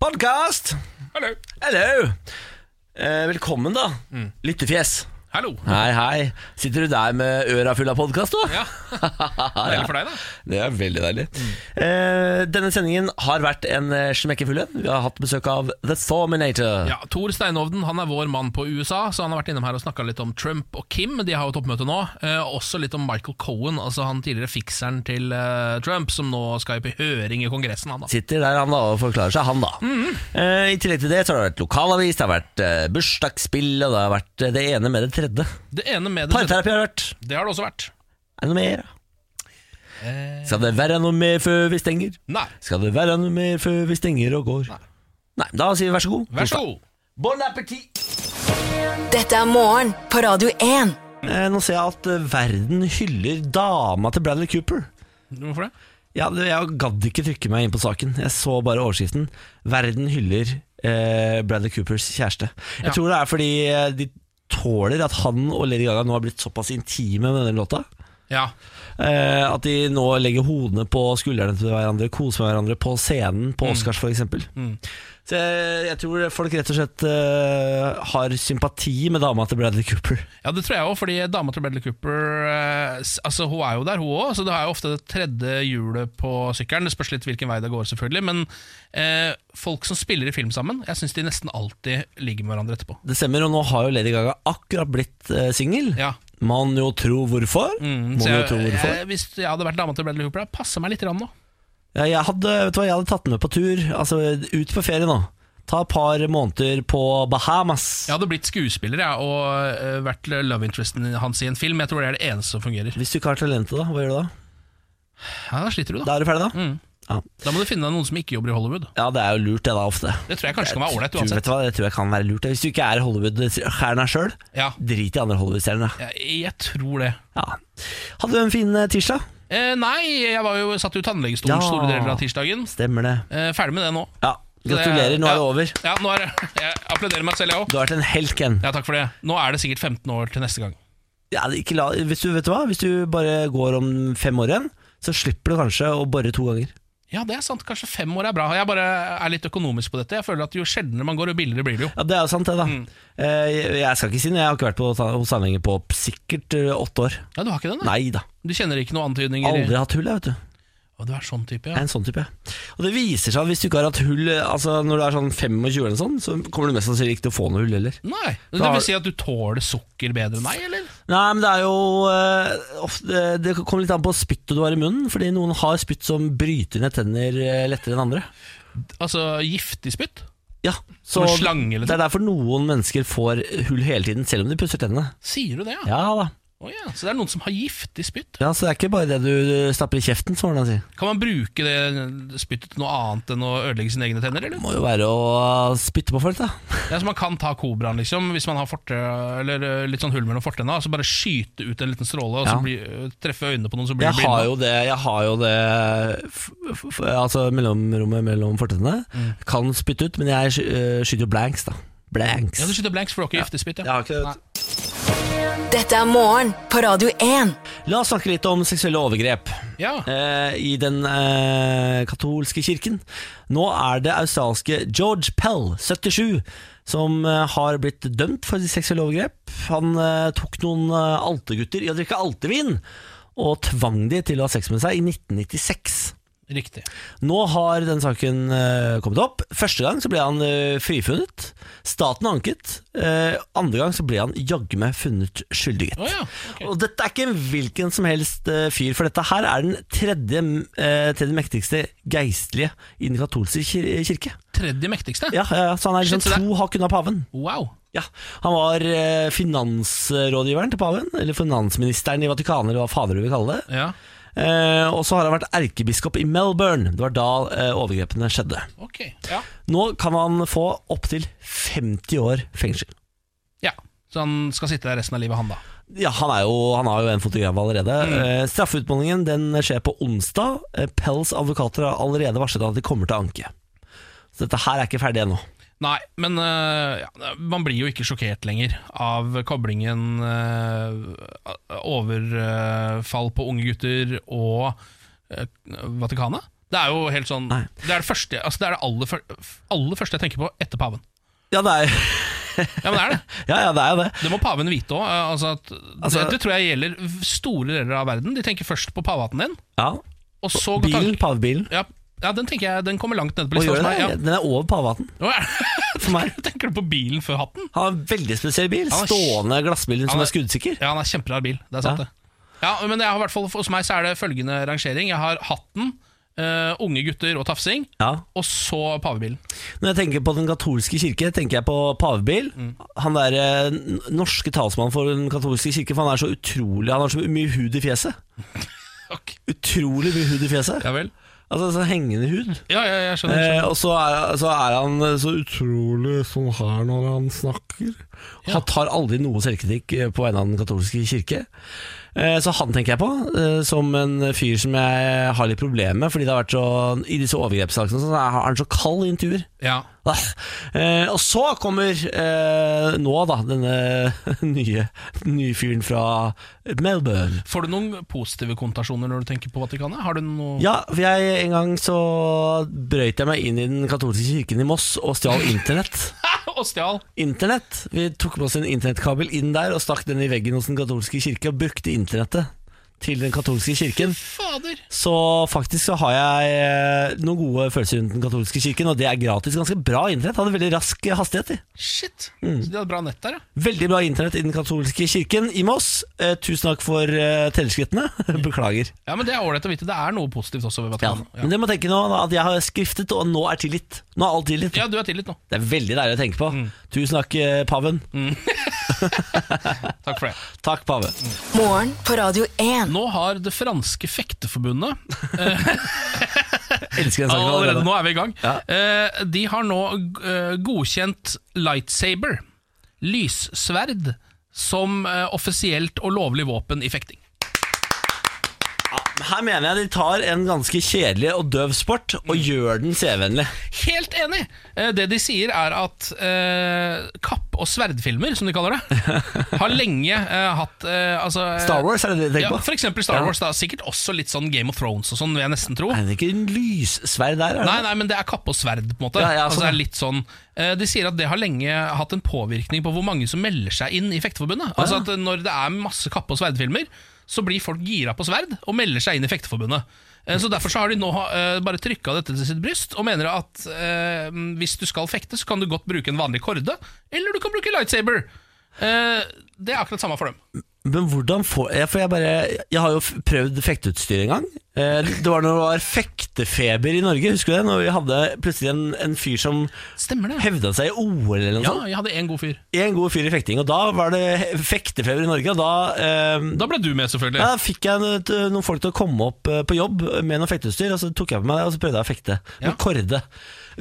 Podkast! Hallo. Mm. Hello! Eh, velkommen, da. Lyttefjes. Hallo. Hei, hei. Sitter du der med øra fulle av podkast, da? Ja. Deilig for deg, da. Mm. Det er veldig deilig. Eh, denne sendingen har vært en eh, smekkefull en. Vi har hatt besøk av The Thominator. Ja, Tor Steinovden han er vår mann på USA, så han har vært innom her og snakka litt om Trump og Kim. De har jo toppmøte nå. Eh, også litt om Michael Cohen, altså han tidligere fikseren til eh, Trump, som nå skal på høring i Kongressen. han da. Sitter der han da og forklarer seg, han da. eh, I tillegg til det så har det vært lokalavis, det har vært eh, bursdagsspill, og det har vært eh, det ene med det tredje. Det ene med det Parterapi har det vært. Det har det også vært. Er det noe mer? Skal det være noe mer før vi stenger? Nei. Skal det være noe mer før vi stenger og går? Nei, da sier vi vær så god. Vær så god. Bon appétit! Dette er morgen på Radio 1. Eh, nå ser jeg at eh, verden hyller dama til Bradley Cooper. Hvorfor det? Ja, det- jeg gadd ikke trykke meg inn på saken. Jeg så bare overskriften. Verden hyller eh, Bradley Coopers kjæreste. Jeg Ja. tror det er fordi eh, de tåler at han og Lady Gaga nå har blitt såpass intime med denne låta. Ja. Eh, at de nå legger hodene på skuldrene til hverandre, koser med hverandre på scenen, Mm. på Oscars f.eks. Så jeg, jeg tror folk rett og slett eh, har sympati med dama til Bradley Cooper. Ja, det tror jeg òg, fordi dama til Bradley Cooper eh, s- Altså, Hun er jo der, hun òg, så det er jo ofte det tredje hjulet på sykkelen. Det spørs litt hvilken vei det går, selvfølgelig, men eh, folk som spiller i film sammen, jeg syns de nesten alltid ligger med hverandre etterpå. Det stemmer, og nå har jo Lady Gaga akkurat blitt eh, singel. Ja. Man jo tro hvorfor. Mm, Man så jo jeg, tro hvorfor. jeg, hvis jeg hadde vært dama til Bradley Cooper, jeg passer meg litt grann nå. Ja, jeg, hadde, vet du hva, jeg hadde tatt den med på tur. Altså, ut på ferie nå. Ta et par måneder på Bahamas. Jeg hadde blitt skuespiller jeg, og eh, vært love interesten hans i en film. Jeg tror det er det eneste som fungerer. Hvis du ikke har talentet, da, hva gjør du da? Ja, Da sliter du, da. Da er du ferdig, da? Mm. Da må du finne deg noen som ikke jobber i Hollywood. Ja, det er jo lurt, det da, ofte. Det tror jeg kanskje kan være ålreit Du vet uansett. du hva, Det tror jeg kan være lurt. Hvis du ikke er Hollywood-stjerna sjøl, Ja, drit i andre Hollywood-stjerner. da. jeg, jeg tror det. Ja. Hadde du en fin eh, tirsdag? Eh, nei, jeg var jo, satt jo i tannlegestolen Ja. store deler av tirsdagen. Stemmer det. Eh, ferdig med det nå. Ja, Gratulerer, nå Ja. er det over. Ja, nå er det. Jeg applauderer meg selv, jeg òg. Du har vært en helt, Ken. Ja, takk for det. Nå er det sikkert 15 år til neste gang. Ja, ikke la, hvis, du, vet du hva? hvis du bare går om fem år igjen, så slipper du kanskje å bore to ganger. Ja, det er sant. Kanskje fem år er bra. Jeg bare er litt økonomisk på dette. Jeg føler at Jo sjeldnere man går, jo billigere blir det jo. Ja, Det er jo sant, det, da. Mm. Eh, Jeg, jeg skal ikke si noe, jeg har ikke vært på, ta- hos tannlegen på sikkert eh, åtte år. Ja, Du har ikke den, da? Nei da. Du kjenner ikke noen antydninger? i- Aldri hatt hull, jeg, vet du. Å, du er sånn type, Jeg ja. er en sånn type. jeg. Og det viser seg at hvis du ikke har hatt hull eh, Altså når du er sånn 25 eller sånn, så kommer du mest sannsynlig ikke til å få noe hull heller. Nei, Det Da- vil si at du tåler sukker bedre enn meg, eller? Nei, men det er jo eh, ofte, Det kommer litt an på spyttet du har i munnen, fordi noen har spytt som bryter ned tenner eh, lettere enn andre. Altså giftig spytt? Ja, Som så en slange, liksom. Det er derfor noen mennesker får hull hele tiden, selv om de pusser tennene. Sier du det, ja? Ja da. Å ja. Så det er noen som har giftig spytt? Ja, Så det er ikke bare det du stapper i kjeften, som Hvordan sier. Kan man bruke det spyttet til noe annet enn å ødelegge sine egne tenner, eller? Må jo være å spytte på folk, da. Ja, så Man kan ta kobraen liksom hvis man har forte, eller eh, litt sånn hull mellom fortennene. og Så bare skyte ut en liten stråle og så Ja. bli, eh, treffe øynene på noen som blir Jeg blinde. har jo det, jeg har jo det f f f- Altså mellomrommet mellom fortennene. Mm. Kan spytte ut, men jeg sky- øh, skyter jo blanks, da. Blanks. Ja, Du skyter blanks, for du har ikke giftig spytt. Jeg Ja. har ikke det, vet du. Dette er morgen på Radio 1. La oss snakke litt om seksuelle overgrep Ja. eh, i den eh, katolske kirken. Nå er det australske George Pell, 77, som eh, har blitt dømt for seksuelle overgrep. Han eh, tok noen eh, altergutter i å drikke altevin, og tvang de til å ha sex med seg i 1996. Riktig. Nå har den saken eh, kommet opp. Første gang så ble han eh, frifunnet. Staten anket. Eh, andre gang så ble han jaggu meg funnet skyldig. gitt. Å ja. ok. Og dette er ikke en hvilken som helst eh, fyr, for dette her er den tredje, eh, tredje mektigste geistlige i den katolske kir- kirke. Tredje mektigste? Ja, ja, ja, Så han er Shit, så liksom det- to hakk unna paven. Wow. Ja, Han var eh, finansrådgiveren til paven, eller finansministeren i Vatikanet, eller hva fader du vil kalle det. Ja. Eh, og så har han vært erkebiskop i Melbourne. Det var da eh, overgrepene skjedde. Ok, ja. Nå kan han få opptil 50 år fengsel. ja. Så han skal sitte der resten av livet, han da. Ja, han, er jo, han har jo en fotograf allerede. Eh, straffeutmålingen den skjer på onsdag. Eh, Pells advokater har allerede varslet at de kommer til å anke. Så dette her er ikke ferdig ennå. Nei, men øh, ja, man blir jo ikke sjokkert lenger av koblingen øh, overfall på unge gutter og øh, Vatikanet. Det er jo helt sånn Nei. Det er det første altså det, er det aller, fyr- aller første jeg tenker på etter paven. Ja, det er Ja, men det er det. ja, ja, det er jo det. Det må paven vite òg. Altså at- Altså- det, det tror jeg gjelder store deler av verden. De tenker først på pavehatten din, Ja. og så går Bilen, tanken- pavebilen. Ja, ja, den tenker jeg Den kommer langt nede på Og lista. gjør hos det, meg, ja. Den er over pavehatten Å, er det? for meg. Tenker du på bilen før hatten? Han har en veldig spesiell bil. Han er- Stående glassbil som Han er- er skuddsikker. Ja, han er kjemperar bil. Det er sant, Ja. det. Ja, men jeg har, i hvert fall, Hos meg så er det følgende rangering. Jeg har hatten, eh, unge gutter og tafsing, Ja. og så pavebilen. Når jeg tenker på den katolske kirke, tenker jeg på pavebil. Mm. Han der eh, n- norske talsmannen for den katolske kirke, for han er så utrolig Han har så mye hud i fjeset. Utrolig mye hud i fjeset. Ja vel? Altså sånn hengende hud. Ja, ja, jeg skjønner. Eh, skjønner. og så er, så er han eh, så utrolig sånn her når han snakker. Han tar aldri noe selvkritikk eh, på vegne av den katolske kirke. Eh, Så han tenker jeg på eh, som en fyr som jeg har litt problemer med. Fordi det har vært så, I disse overgrepssakene så er han så kald i intervjuer. Ja. Ah. Eh, Og så kommer eh, nå, da, denne nye, nye fyren fra Melbourne. Får du noen positive konnotasjoner når du tenker på Vatikanet? Har du noe Ja, for jeg, en gang så brøyt jeg meg inn i den katolske kirken i Moss og stjal internett. Og stjal? Internett! Vi tok med oss en internettkabel inn der og stakk den i veggen hos den katolske kirke og brukte internettet til den katolske kirken. Fader! Så faktisk så har jeg eh, noen gode følelser rundt den katolske kirken, og det er gratis. Ganske bra internett. Hadde veldig rask hastighet. i. Shit. Så de hadde bra nett der, ja. Veldig bra internett i den katolske kirken i Moss. Eh, tusen takk for eh, telleskrittene. Beklager. Ja, men Det er ålreit å vite. Det er noe positivt også ved Ja. Vatikanet. Ja. Men dere må tenke nå da, at jeg har skriftet, og nå er tillit. Nå er alt tillit. Ja, Mm. du er tilgitt nå. Det er veldig deilig å tenke på. Tusen takk, eh, paven. Mm. Takk for det. Takk, pave. Morgen på Radio 1. Nå har det franske fekteforbundet Jeg elsker den sangen Allerede allerede. nå er vi i gang. Ja. Eh, de har nå eh, godkjent lightsaber, lyssverd, som eh, offisielt og lovlig våpen i fekting. Her mener jeg de tar en ganske kjedelig og døv sport og Mm. gjør den CV-vennlig. Helt enig! Eh, det de sier, er at eh, kapp- og sverdfilmer, som de kaller det, har lenge eh, hatt eh, altså, eh, Star Wars er det det du Ja, tenker for på? eksempel Star Ja. Wars. da Sikkert også litt sånn Game of Thrones og sånn, vil jeg nesten tro. Er det ikke en lyssverd der? Er det? Nei, nei, men det er kappe og sverd, på en måte. Ja, ja, altså, sånn, det ja. er litt sånn Eh, De sier at det har lenge hatt en påvirkning på hvor mange som melder seg inn i Fekteforbundet. Altså at Når det er masse kappe- og sverdfilmer, så blir folk gira på sverd og melder seg inn i Fekteforbundet. Eh, Så Derfor så har de nå eh, bare trykka dette til sitt bryst og mener at eh, hvis du skal fekte, så kan du godt bruke en vanlig korde, eller du kan bruke lightsaber. Eh, det er akkurat samme for dem. Men hvordan får jeg, for jeg, bare, jeg har jo f- prøvd fekteutstyr en gang. Eh, Det var når det var fektefeber i Norge, husker du det? Når vi hadde plutselig en, en fyr som Stemmer det? hevda seg i OL eller noe Ja, sånt. jeg hadde én god fyr. En god fyr i fekting, og da var det he- fektefeber i Norge, og da eh, Da ble du med, selvfølgelig. Ja, da fikk jeg noe- t- noen folk til å komme opp eh, på jobb med noe fekteutstyr, og så tok jeg på meg det, og så prøvde jeg å fekte Ja. med korde.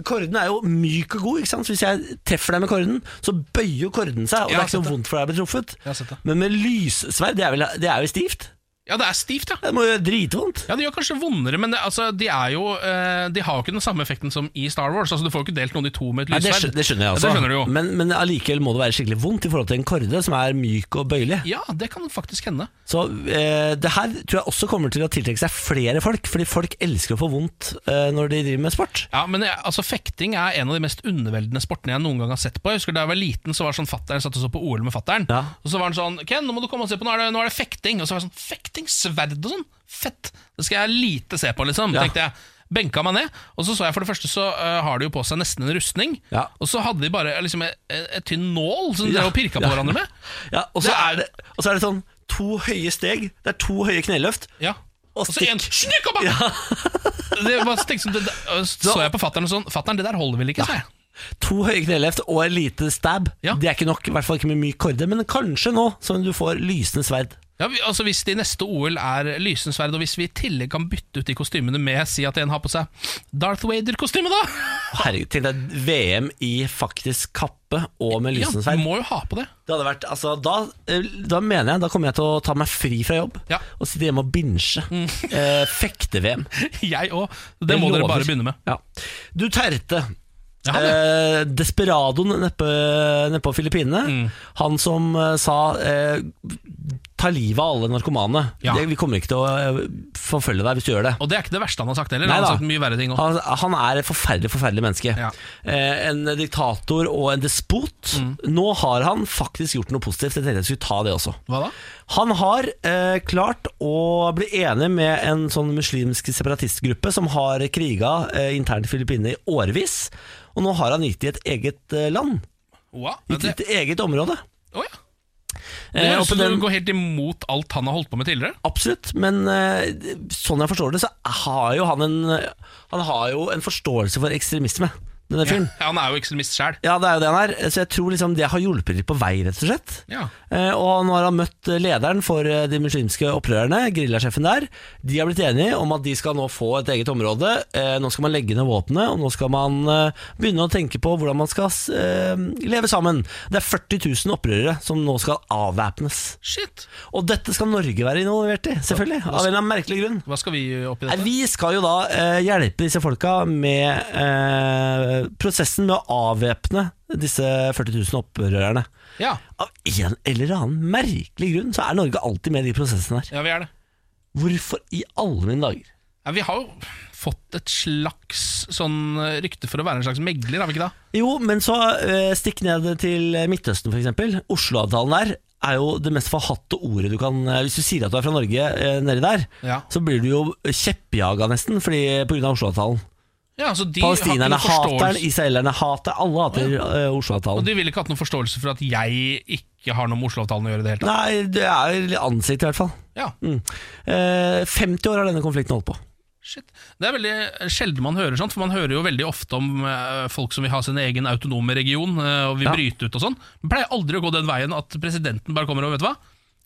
Korden er jo myk og god, ikke sant? så hvis jeg treffer deg med korden, så bøyer jo korden seg, og Ja, det er jeg ikke har sett så vondt for deg å bli truffet. Jeg har sett det. Men med lyssverd, det er, vel, det er jo stivt? Ja, det er stivt, ja. Det må jo gjøre dritvondt. Ja, Det gjør kanskje vondere, men det, altså, de, er jo, eh, de har jo ikke den samme effekten som i Star Wars. Altså, Du får jo ikke delt noen i to med et Nei, det, lyssverd. skjønner, det skjønner jeg Ja, også, det skjønner du jo. Men, men allikevel må det være skikkelig vondt i forhold til en korde som er myk og bøyelig. Ja, det kan faktisk hende. Så eh, det her tror jeg også kommer til å tiltrekke seg flere folk, fordi folk elsker å få vondt eh, når de driver med sport. Ja, men jeg, altså, Fekting er en av de mest underveldende sportene jeg noen gang har sett på. Jeg husker Da jeg var liten, så var det sånn fatteren satt og så på OL med fatteren. Ja. Og så var han sånn Ken, nå må du komme og se på, nå er det, nå er det fekting. Og så var jeg sånn Fekting? Sverd og sånn? Fett! Det skal jeg lite se på, liksom. Ja. tenkte jeg. Benka meg ned, og så så jeg for det første så eh, har de jo på seg nesten en rustning. Ja. Og så hadde de bare eh, liksom en, en, en tynn nål som de Ja. drev og pirka på Ja. hverandre med. Ja, og Det så er- er, det- og så er det sånn to høye steg. Det er to høye kneløft. Ja. Og Og så en stikk. snykk opp! det var, tenkte, sånn, det, det- så jeg på fatteren og sånn Fatteren, det der holder vel ikke, sa jeg. To høye kneløft og en lite stab. Ja. Det er ikke nok, i hvert fall ikke med myk korde, men kanskje nå som du får lysende sverd. Ja, vi, altså Hvis det i neste OL er lysende sverd, og hvis vi i tillegg kan bytte ut de kostymene med si at en har på seg Darth Vader-kostyme, da! Herregud, tenk deg VM i faktisk kappe og med lysende Ja, sverd. du må jo ha på det. Det hadde vært, altså, da, eh, da mener jeg Da kommer jeg til å ta meg fri fra jobb Ja. Mm. og sitte hjemme og binge. Eh, Fekte-VM. Jeg òg. Det må dere lover. bare begynne med. Ja. Du Terte. Ja, han, ja. Eh, Desperadoen neppe, neppe på Filippinene. Mm. Han som eh, sa eh, ta livet av alle narkomane. Ja. Det, vi kommer ikke til å eh, forfølge deg hvis du gjør det. Og det er ikke det verste han har sagt heller. Nei han da. har sagt mye verre ting også. Han, han er et forferdelig, forferdelig menneske. Ja. Eh, en diktator og en despot. Mm. Nå har han faktisk gjort noe positivt. Jeg tenkte jeg skulle ta det også. Hva da? Han har eh, klart å bli enig med en sånn muslimsk separatistgruppe som har kriga eh, internt i Filippinene i årevis. Og nå har han gitt i et eget eh, land. Hva? Gitt i Det, et eget område. Å, ja. det Eh, og høres på ut som den- du går helt imot alt han har holdt på med tidligere. Absolutt, men eh, sånn jeg forstår det, så har jo han en, han har jo en forståelse for ekstremisme, denne Ja, fyren. han er jo ekstremist sjæl. Ja, det er jo det han er. Så jeg tror liksom det har hjulpet litt på vei, rett og slett. Ja. Eh, Og nå har han møtt lederen for eh, de muslimske opprørerne, gerillasjefen der. De har blitt enige om at de skal nå få et eget område. Eh, Nå skal man legge ned våpenet, og nå skal man eh, begynne å tenke på hvordan man skal eh, leve sammen. Det er 40 000 opprørere som nå skal avvæpnes. Shit. Og dette skal Norge være involvert i, selvfølgelig. Av en eller annen merkelig grunn. Hva skal vi oppi Nei, dette? vi skal jo da eh, hjelpe disse folka med eh, prosessen med å avvæpne disse 40 000 opprørerne. Ja. Av en eller annen merkelig grunn så er Norge alltid med i de prosessene her. ja, vi er det. Hvorfor i alle mine dager? Ja, vi har jo fått et slags sånn rykte for å være en slags megler, har vi ikke det? Jo, men så eh, stikk ned til Midtøsten f.eks. Oslo-avtalen der er jo det mest forhatte ordet du kan eh, Hvis du sier at du er fra Norge eh, nedi der, Ja. så blir du jo kjeppjaga nesten fordi, på grunn av Oslo-avtalen. Ja, altså de har ikke noe Palestinerne hater den, forståelse- israelerne hater Alle hater eh, Oslo-avtalen. Og de ville ikke hatt noen forståelse for at jeg ikke har noe med Oslo-avtalen å gjøre i det hele tatt. Nei, det er vel ansikt i hvert fall. Ja, Mm. Eh, 50 år har denne konflikten holdt på. shit. Det er veldig sjelden man hører sånt, for man hører jo veldig ofte om eh, folk som vil ha sin egen autonome region eh, og vil Ja. bryte ut og sånn. Men pleier aldri å gå den veien at presidenten bare kommer og vet du hva?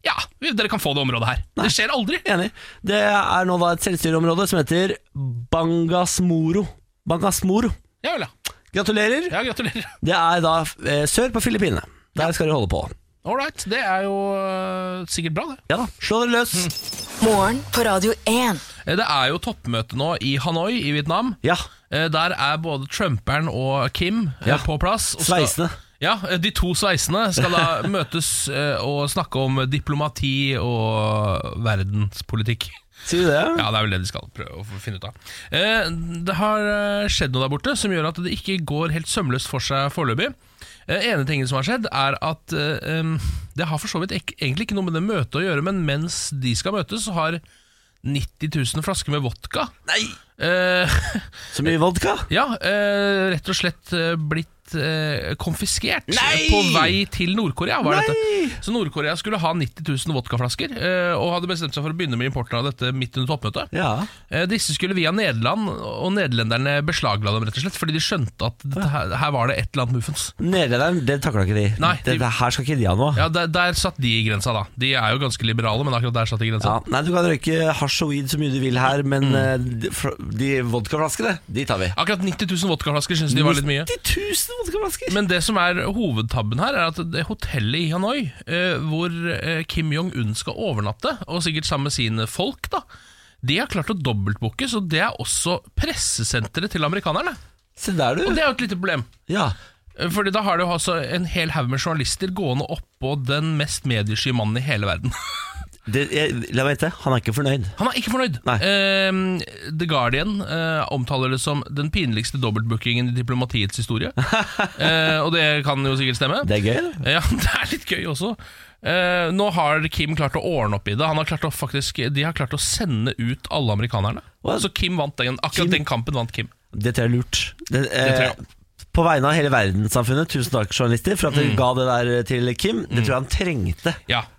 Ja, vi- dere kan få det området her. Det skjer aldri. Enig. Det er nå da et selvstyreområde som heter Bangasmoro. Bangasmoro. Ja vel, ja. Gratulerer. ja gratulerer. Det er da eh, sør på Filippinene. Der skal de holde på. All right, det er jo eh, sikkert bra, det. Ja da, slå dere løs. Mm. Morgen på Radio 1. Eh, Det er jo toppmøte nå i Hanoi i Vietnam. Ja. Eh, Der er både Trumperen og Kim eh, Ja. på plass. og Sveisene. Skal, ja, eh, De to sveisene skal da møtes eh, og snakke om diplomati og verdenspolitikk. Sier du det? Ja, Det er vel det de skal prøve å få finne ut av. Eh, Det har eh, skjedd noe der borte som gjør at det ikke går helt sømløst for seg foreløpig. Eh, Ene tingen som har skjedd, er at eh, em, det har for så vidt ek- egentlig ikke noe med det møtet å gjøre, men mens de skal møtes, så har 90 000 flasker med vodka Nei! eh, Så mye vodka? ja, eh, rett og slett eh, blitt eh, konfiskert Nei! på vei til Nord-Korea. var dette. Så Nord-Korea skulle ha 90 000 vodkaflasker, eh, og hadde bestemt seg for å begynne med importen av dette midt under toppmøtet. Ja. Eh, disse skulle via Nederland, og nederlenderne beslagla dem rett og slett, fordi de skjønte at dette her, her var det et eller annet muffens. Nederlenderen, det takla ikke de. Nei, de- det, det her skal ikke de ha noe. Ja, der, der satt de i grensa, da. De er jo ganske liberale, men akkurat der satt de i grensa. Ja, nei, Du kan røyke hasj og weed så mye du vil her, men Mm. eh, de, fra- de vodkaflaskene, de tar vi. Akkurat 90 000 vodkaflasker syns de var litt mye. 90 000 vodkaflasker! Men det som er hovedtabben her, er at det hotellet i Hanoi, eh, hvor eh, Kim Jong-un skal overnatte, og sikkert sammen med sine folk, da, de har klart å dobbeltbooke, så det er også pressesenteret til amerikanerne. Se der, du. Og det er jo et lite problem. Ja. Eh, Fordi da har du altså en hel haug med journalister gående oppå den mest mediesky mannen i hele verden. Det, jeg, la meg vite, han er ikke fornøyd. Han er ikke fornøyd. Nei. Eh, The Guardian eh, omtaler det som den pinligste dobbeltbookingen i diplomatiets historie. eh, og det kan jo sikkert stemme. Det er gøy, da. Ja, det er litt gøy også. Eh, nå har Kim klart å ordne opp i det. Han har klart å faktisk, de har klart å sende ut alle amerikanerne. Wow. Så Kim vant den, akkurat Kim- den kampen vant Kim. Det tror jeg er lurt. Det, tror jeg eh, på vegne av hele verdenssamfunnet, tusen takk, journalister, for at Mm. dere ga det der eh, til Kim. Det tror jeg han trengte. Ja,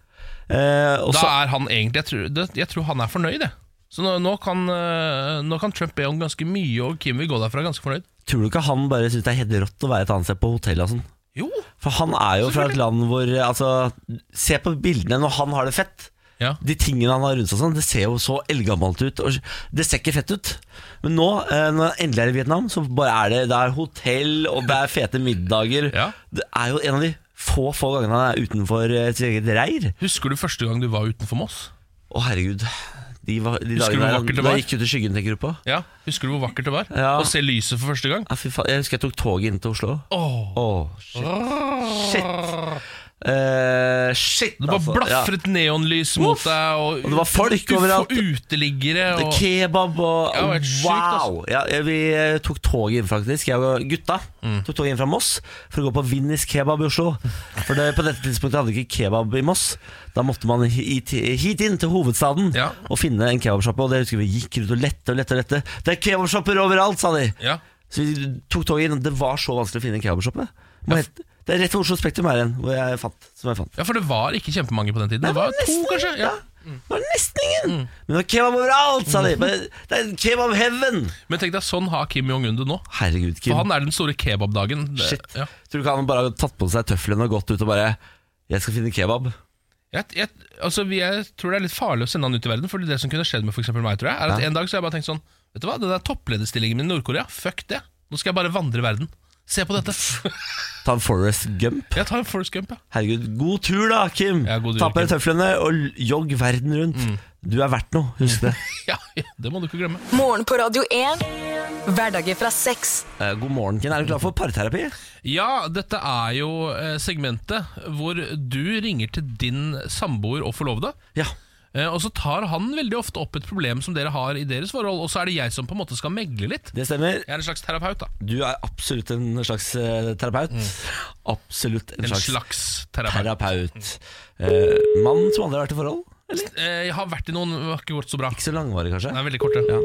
Eh, Mm. og Da så er han egentlig Jeg tror, det, jeg tror han er fornøyd, jeg. Så nå, nå, kan, eh, nå kan Trump be om ganske mye, og Kim vil gå derfra ganske fornøyd. tror du ikke han bare syns det er helt rått å være et annet sted på hotell og sånn. Jo, For han er jo fra et land hvor eh, Altså, se på bildene når han har det fett. Ja. De tingene han har rundt seg, og sånn, det ser jo så eldgammelt ut. Og det ser ikke fett ut. Men nå, eh, når han endelig er i Vietnam, så bare er det, det er hotell og det er fete middager. Ja. Det er jo en av de få, få gangene han er utenfor eh, sitt eget reir. Husker du første gang du var utenfor Moss? Å, herregud. De, var, de Husker du hvor dagene der- vakkert det da var? gikk ut i skyggen, tenker du på? Ja, Husker du hvor vakkert det var? Ja. Å se lyset for første gang? Ja, fy faen, jeg husker jeg tok toget inn til Oslo. Åh, Åh, shit. Ah, Shit. Eh, shit, det bare altså. blafret neonlys mot Uff. deg, og, Og det var folk uff, overalt. og uteliggere Ja. og Kebab og Ja, det var helt sykt, altså. Wow! Ja, vi eh, tok toget inn, faktisk. Jeg og gutta Mm. tok toget inn fra Moss for å gå på Vinnis kebab i Oslo. For det, på dette tidspunktet hadde vi ikke kebab i Moss. Da måtte man hit, hit inn til hovedstaden Ja. og finne en kebabsjappe. Og det husker vi gikk rundt og lette og lette. og lette Det er kebabshopper overalt, sa de! Ja, Så vi tok toget inn, og det var så vanskelig å finne en kebabsjappe. Det var helt- Det er rett ved Oslo Spektrum her igjen, hvor jeg fant, som jeg fant. ja for det var ikke kjempemange på den tiden. Det Nei, var men to, nesten kanskje? ingen, Ja. Mm. Det var nesten ingen! Men det var kebab overalt, sa de! Bare, det er kebab heaven! Men tenk deg, sånn har Kim Jong-un det nå. Herregud, Kim. For han er den store kebabdagen. Det- Shit. Ja. Tror du ikke han bare har tatt på seg tøflene og gått ut og bare Jeg skal finne kebab. Jeg, jeg, altså, vi- jeg tror det er litt farlig å sende han ut i verden, Fordi det som kunne skjedd med for eksempel meg, tror jeg, er at Ja. en dag så har jeg bare tenkt sånn Vet du hva, den der topplederstillingen min i Nord-Korea, fuck det. Nå skal jeg bare vandre verden. Se på dette. Ta en Forest Gump. Jeg tar en Forrest Gump, ja. Herregud, god tur da, Kim! Ja, god tur, Ta på deg Kim. Mm. tøflene og jogg verden rundt. Du er verdt noe, husk det. ja. Det må du ikke glemme. Morgen på Radio 1. Hverdager fra seks. Eh, god morgen, Kim. Er du klar for parterapi? Ja, dette er jo eh, segmentet hvor du ringer til din samboer og forlovede. Ja. eh, Og så tar han veldig ofte opp et problem som dere har i deres forhold, og så er det jeg som på en måte skal megle litt. Det stemmer. Jeg er en slags terapeut, da. Du er absolutt en slags eh, terapeut. Absolutt en, Mm. En slags, slags terapeut. terapeut. Mm. Eh, mann som aldri har vært i forhold? Eller? Eh, Jeg har vært i noen, det har ikke gått så bra. Ikke så langvarig, kanskje? Det er veldig korte. Ja.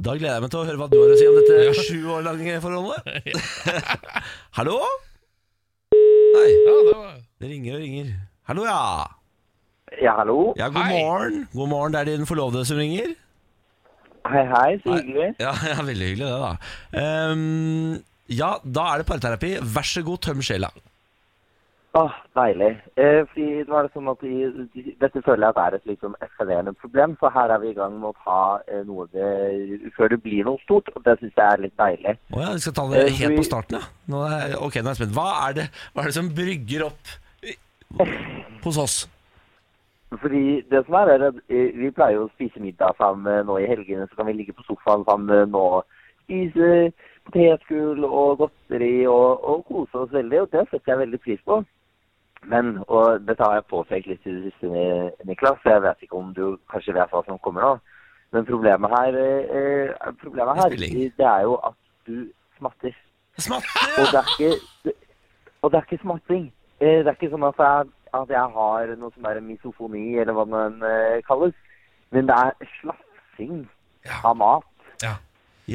Da gleder jeg meg til å høre hva du har å si om Ja. dette sju år lange forholdet. Hallo? Nei, Ja, det var... det ringer og ringer. Hallo, ja. Ja, hallo. Ja, god Hei. morgen. God morgen, det er din forlovede som ringer. Hei, hei. Så hyggelig. Ja, ja veldig hyggelig det, da. Ehm, ja, da er det parterapi. Vær så god, tøm sjela. Åh, deilig. Eh, fordi nå er det sånn at i, Dette føler jeg at er et liksom eskalerende problem, så her er vi i gang med å ta eh, noe det, før det blir noe stort, og det syns jeg er litt deilig. Å ja, vi skal ta det Eh, helt vi- på starten, ja. Nå er, ok, nå er jeg spent. Hva er, det, hva er det som brygger opp i- hos oss? Fordi det som er, er at eh, vi pleier jo å spise middag sammen eh, nå i helgene, så kan vi ligge på sofaen sammen eh, og spise potetgull og godteri og, og kose oss veldig, og det setter jeg veldig pris på. Men, og dette har jeg påpekt litt i det siste, Ni- Niklas, så jeg vet ikke om du kanskje vet hva som kommer nå. Men problemet her, eh, eh, problemet her Det spiller ingen- det er jo at du smatter. Smatter! Og det er ikke, og det er ikke smatting. Eh, Det er ikke sånn at jeg, at jeg har noe som er misofoni, eller hva den eh, kalles. Men det er slafsing av mat. Ja,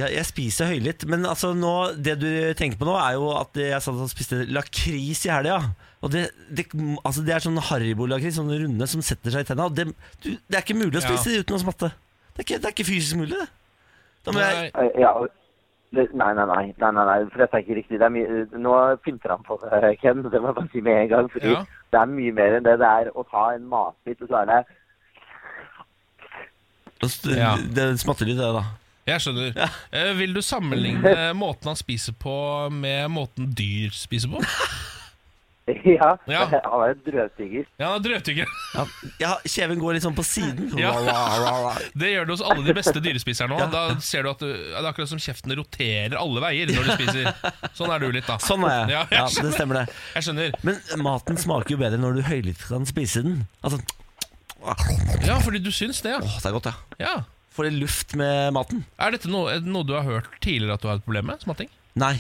jeg spiser høylytt, men altså nå, det du tenker på nå er jo at jeg satt og spiste lakris i helga. Og det, det, altså det er sånn Haribo-lakris, sånne runde som setter seg i tenna. Og det, du, det er ikke mulig å Ja. spise det uten å smatte. Det er ikke, det er ikke fysisk mulig, det. Da må jeg, Nei, Eh, Ja, og- det, nei, nei, nei, nei, nei, nei, for dette er ikke riktig. Det er mye, nå pynter han på det, Ken, det må jeg bare si med en gang. Fordi Ja. det er mye mer enn det. Det er å ta en matbit, og så er det det, Ja. det smatter litt, det, da. jeg skjønner. Eh, Vil du sammenligne måten han spiser på med måten dyr spiser på? Ja, Ja. han er en drøvtygger. Ja, drøvtygger. Ja, ja, kjeven går litt sånn på siden. Ja. Ra, ra, ra, ra. Det gjør det hos alle de beste dyrespiserne òg. Da ser du at du, ja, det er akkurat som kjeften roterer alle veier når du spiser. Sånn er du litt, da. Sånn er jeg. Ja, Ja, jeg det skjønner. stemmer, det. Jeg skjønner. Men maten smaker jo bedre når du høylytt kan spise den. Altså, Ja, fordi du syns det, ja. å, det er godt, ja. ja. Får litt luft med maten. Er dette noe, er det noe du har hørt tidligere at du har et problem med? Smatting? Nei,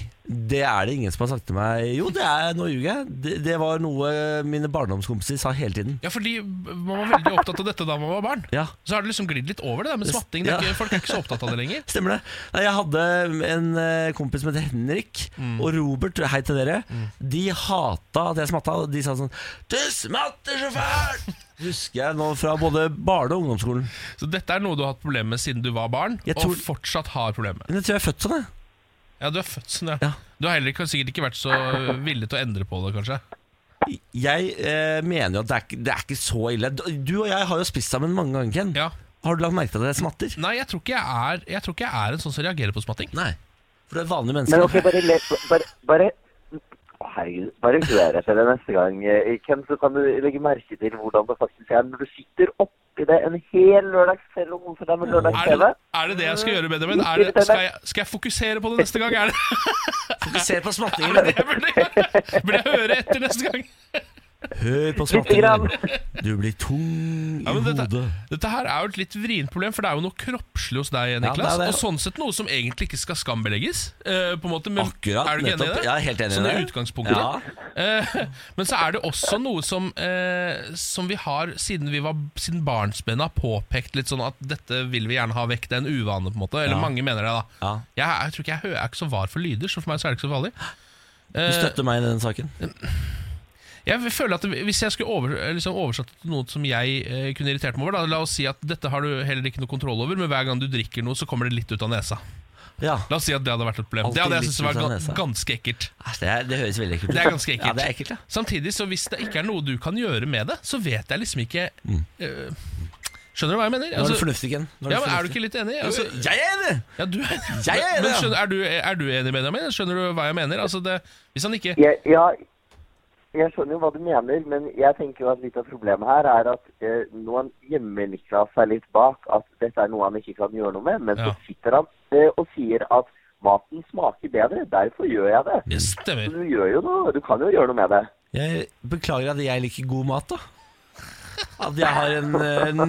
det er det ingen som har sagt til meg. Jo, det er nå ljuger jeg. Det, det var noe mine barndomskompiser sa hele tiden. Ja, fordi man var veldig opptatt av dette da man var barn. Ja, Så har det liksom glidd litt over det der med smatting. Det er ikke, folk er ikke så opptatt av det lenger. stemmer det. Nei, jeg hadde en eh, kompis som het Henrik, og Robert, hei til dere. De hata at jeg smatta, og de sa sånn Du smatter så fælt! Husker jeg nå fra både barne- og ungdomsskolen. Så dette er noe du har hatt problemer med siden du var barn, Jeg tror- og fortsatt har problemer med. Men jeg tror jeg er født sånn, jeg. Ja, du er født sånn, ja. Ja. Du har heller ikke, sikkert ikke vært så villig til å endre på det, kanskje. Jeg eh, mener jo at det er, ikke- det er ikke så ille. Du og jeg har jo spist sammen mange ganger, Ken. Ja. Mm. Har du lagt merke til at jeg smatter? Nei, jeg tror ikke jeg er, jeg tror ikke jeg er en sånn som reagerer på smatting. Nei. For du er et vanlig menneske. Men ok, bare le... Bare, bare Å, Herregud, bare hør etter det neste gang, eh, Ken, så kan du legge merke til hvordan det faktisk er når du sitter oppi det en hel lørdagskveld og koser deg med Er lørdags-TV. det, er det det jeg skal gjøre, Benjamin? Er det, skal, jeg, skal jeg fokusere på det neste gang? Er det Fokuser på smattingen. Benjamin. det jeg burde gjøre? Burde jeg høre etter neste gang? Hør på Lite grann. smattingen. Du blir tung i Ja, men dette, hodet. dette her er jo et litt vrient problem, for det er jo noe kroppslig hos deg, Ja, det Niklas. er det. Og sånn sett noe som egentlig ikke skal skambelegges. eh, på en måte, men Akkurat, Er du ikke enig i nettopp. det? Jeg er helt enig i Sånn det. utgangspunktet. Ja. Eh, men så er det også noe som, eh, som vi har, siden, vi var, siden barnsben har påpekt litt sånn at dette vil vi gjerne ha vekk, det er en uvane, på en måte. Eller Ja. mange mener det, da. Ja. Jeg, er- jeg tror ikke jeg, hø- jeg er ikke så var for lyder, så for meg så er det ikke så farlig. Du Eh, støtter meg i den saken. jeg føler at Hvis jeg skulle over, liksom oversatt det til noe som jeg eh, kunne irritert meg over da, La oss si at dette har du heller ikke noe kontroll over, men hver gang du drikker noe, så kommer det litt ut av nesa. Ja. La oss si at det hadde vært et problem. Alltid det hadde litt jeg syntes ut var av ga- nesa. ganske ekkelt. Æsj, Det, er, det høres veldig ekkelt ut. Det er ganske ekkelt. Ja, det er ekkelt, ja. Samtidig, så hvis det ikke er noe du kan gjøre med det, så vet jeg liksom ikke eh, Skjønner du hva jeg mener? Nå er Altså, du Mm. fornuftig, Ken. Nå ja, men Er du fornuftig. ikke litt enig? Altså, Altså, Jeg er enig! ja, du, er- Jeg er enig, men ja. skjønner, er, du, er du enig, Benjamin? Skjønner du hva jeg mener? Altså, det, hvis han ikke Jeg, ja, jeg skjønner jo hva du mener, men jeg tenker jo at litt av problemet her er at eh, nå han gjemmer Niklas seg litt bak at dette er noe han ikke kan gjøre noe med, men Ja. så sitter han eh, og sier at maten smaker bedre, derfor gjør jeg det. Så Stemmer. du gjør jo noe, du kan jo gjøre noe med det. Jeg beklager at jeg liker god mat, da. At jeg har en, eh, en,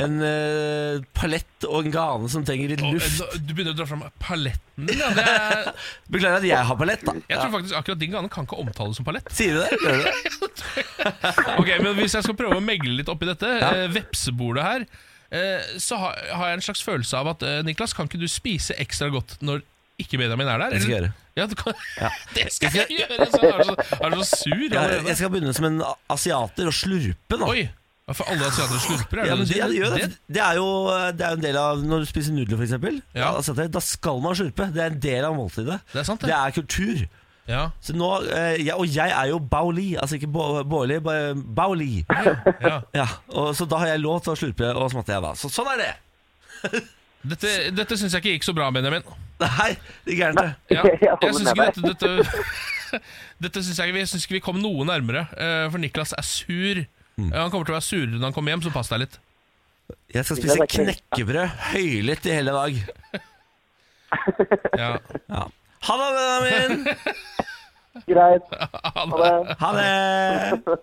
en eh, palett og en gane som trenger litt Og, luft. eh, Du begynner å dra fram paletten din. Ja, det er, Beklager at jeg har palett, da. Jeg tror Ja. faktisk akkurat din gane kan ikke omtales som palett. Sier du det? Gjør du det? Ok, men Hvis jeg skal prøve å megle litt oppi dette, eh, vepsebordet her, eh, så har, har jeg en slags følelse av at eh, Niklas, kan ikke du spise ekstra godt når ikke Benjamin er der? Det skal jeg eller? gjøre. Ja, du kan, det skal jeg gjøre! Så er, du så, er du så sur Jeg, allerede? jeg skal begynne som en a- asiater og slurpe, da. Oi! ja, For alle asiatere slurper, er Ja, det det du men det, sier? det, gjør altså. det. Det- Det, er jo, eh, det er jo en del av Når du spiser nudler, f.eks., ja. Ja. asiater, da skal man slurpe. Det er en del av måltidet. Det er sant, det. Det er kultur. Ja. Så nå, eh, jeg, og jeg er jo Baoli, altså ikke Bo- Bårli, ba- Baoli. sånn, ja. Ja, og, så da har jeg lov til å slurpe, og smatte jeg da. Så sånn er det! Dette, dette syns jeg ikke gikk så bra, Benjamin. Nei, det er gærent det. Ja, Jeg holder jeg syns med ikke dette, dette, dette synes jeg, jeg synes ikke vi kom noe nærmere, eh, for Niklas er sur. Mm. Ja, Han kommer til å være surere når han kommer hjem, så pass deg litt. Jeg skal spise knekkebrød høylytt i hele dag. Ja. Ja. Ha det, vennen min! Greit. Han, Ha det. Ha det!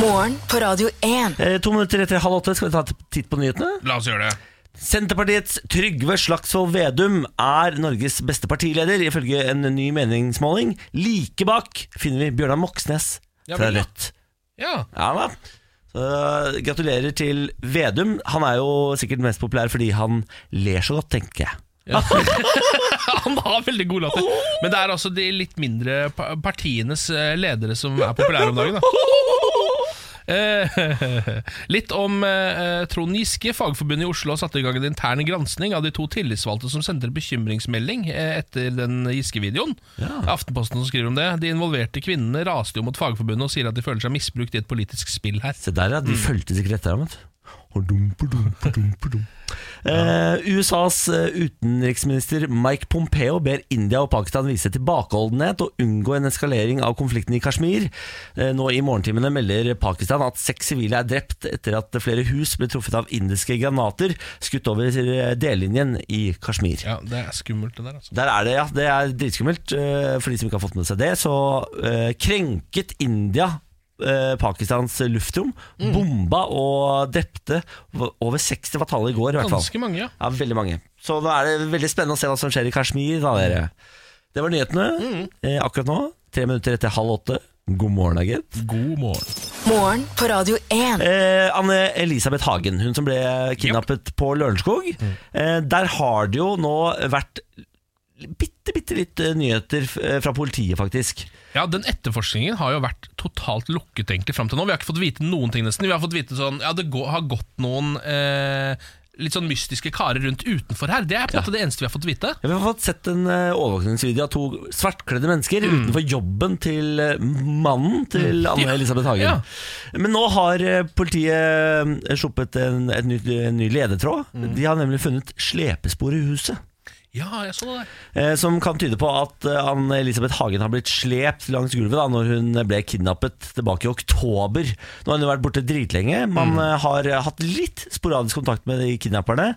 Morgen på Radio 1. Eh, to minutter etter halv åtte skal vi ta en titt på nyhetene. la oss gjøre det. Senterpartiets Trygve Slagsvold Vedum er Norges beste partileder, ifølge en ny meningsmåling. Like bak finner vi Bjørnar Moxnes Ja, fra vel, ja. Rødt. Ja, Ja da. Så, øh, gratulerer til Vedum. Han er jo sikkert mest populær fordi han ler så godt, tenker jeg. Han har veldig god latter. Men det er altså de litt mindre pa- partienes eh, ledere som er populære om dagen. Da. Eh, Litt om eh, Trond Giske. Fagforbundet i Oslo har satt i gang en intern gransking av de to tillitsvalgte som sendte en bekymringsmelding eh, etter den Giske-videoen. Aftenposten som skriver om det. De involverte kvinnene raste jo mot Fagforbundet og sier at de føler seg misbrukt i et politisk spill her. Se der, ja. De fulgte sikkert etter ham. vet du. Og dumper, dumper, dumper, dum. Eh, USAs eh, utenriksminister Mike Pompeo ber India og Pakistan vise tilbakeholdenhet og unngå en eskalering av konflikten i Kashmir. Eh, nå i morgentimene melder Pakistan at seks sivile er drept etter at flere hus ble truffet av indiske granater skutt over eh, dellinjen i Kashmir. Ja, Det er skummelt, det der. altså Der er det, ja. Det er dritskummelt. Eh, For de som ikke har fått med seg det, så eh, krenket India eh, Pakistans luftrom, Mm. bomba og drepte over 60 fatale i går, i hvert fall. Ganske mange, ja. Ja, veldig mange. Så da er det veldig spennende å se hva som skjer i Kashmir, da, dere. Det var nyhetene eh, akkurat nå. Tre minutter etter halv åtte. God morgen, da, gitt. God morgen. Morgen på Radio 1. Eh, Anne Elisabeth Hagen, hun som ble kidnappet på Lørenskog. Eh, der har det jo nå vært bitte, bitte litt eh, nyheter f- eh, fra politiet, faktisk. Ja, Den etterforskningen har jo vært totalt lukket egentlig fram til nå. Vi har ikke fått vite noen ting, nesten. Vi har fått vite sånn Ja, det gå- har gått noen eh, litt sånn mystiske karer rundt utenfor her. Det er på en måte det eneste vi har fått vite. Ja, Vi har fått sett en eh, overvåkningsvideo av to svartkledde mennesker utenfor jobben til eh, mannen til Mm. Ja. Anne-Elisabeth Hagen. Ja. Men nå har eh, politiet eh, sluppet en, et nytt- en ny ledetråd. Mm. De har nemlig funnet slepespor i huset. Ja, jeg så det der. eh, Som kan tyde på at eh, Anne-Elisabeth Hagen har blitt slept langs gulvet da når hun ble kidnappet tilbake i oktober. Nå har hun jo vært borte dritlenge. Man eh, har hatt litt sporadisk kontakt med de kidnapperne.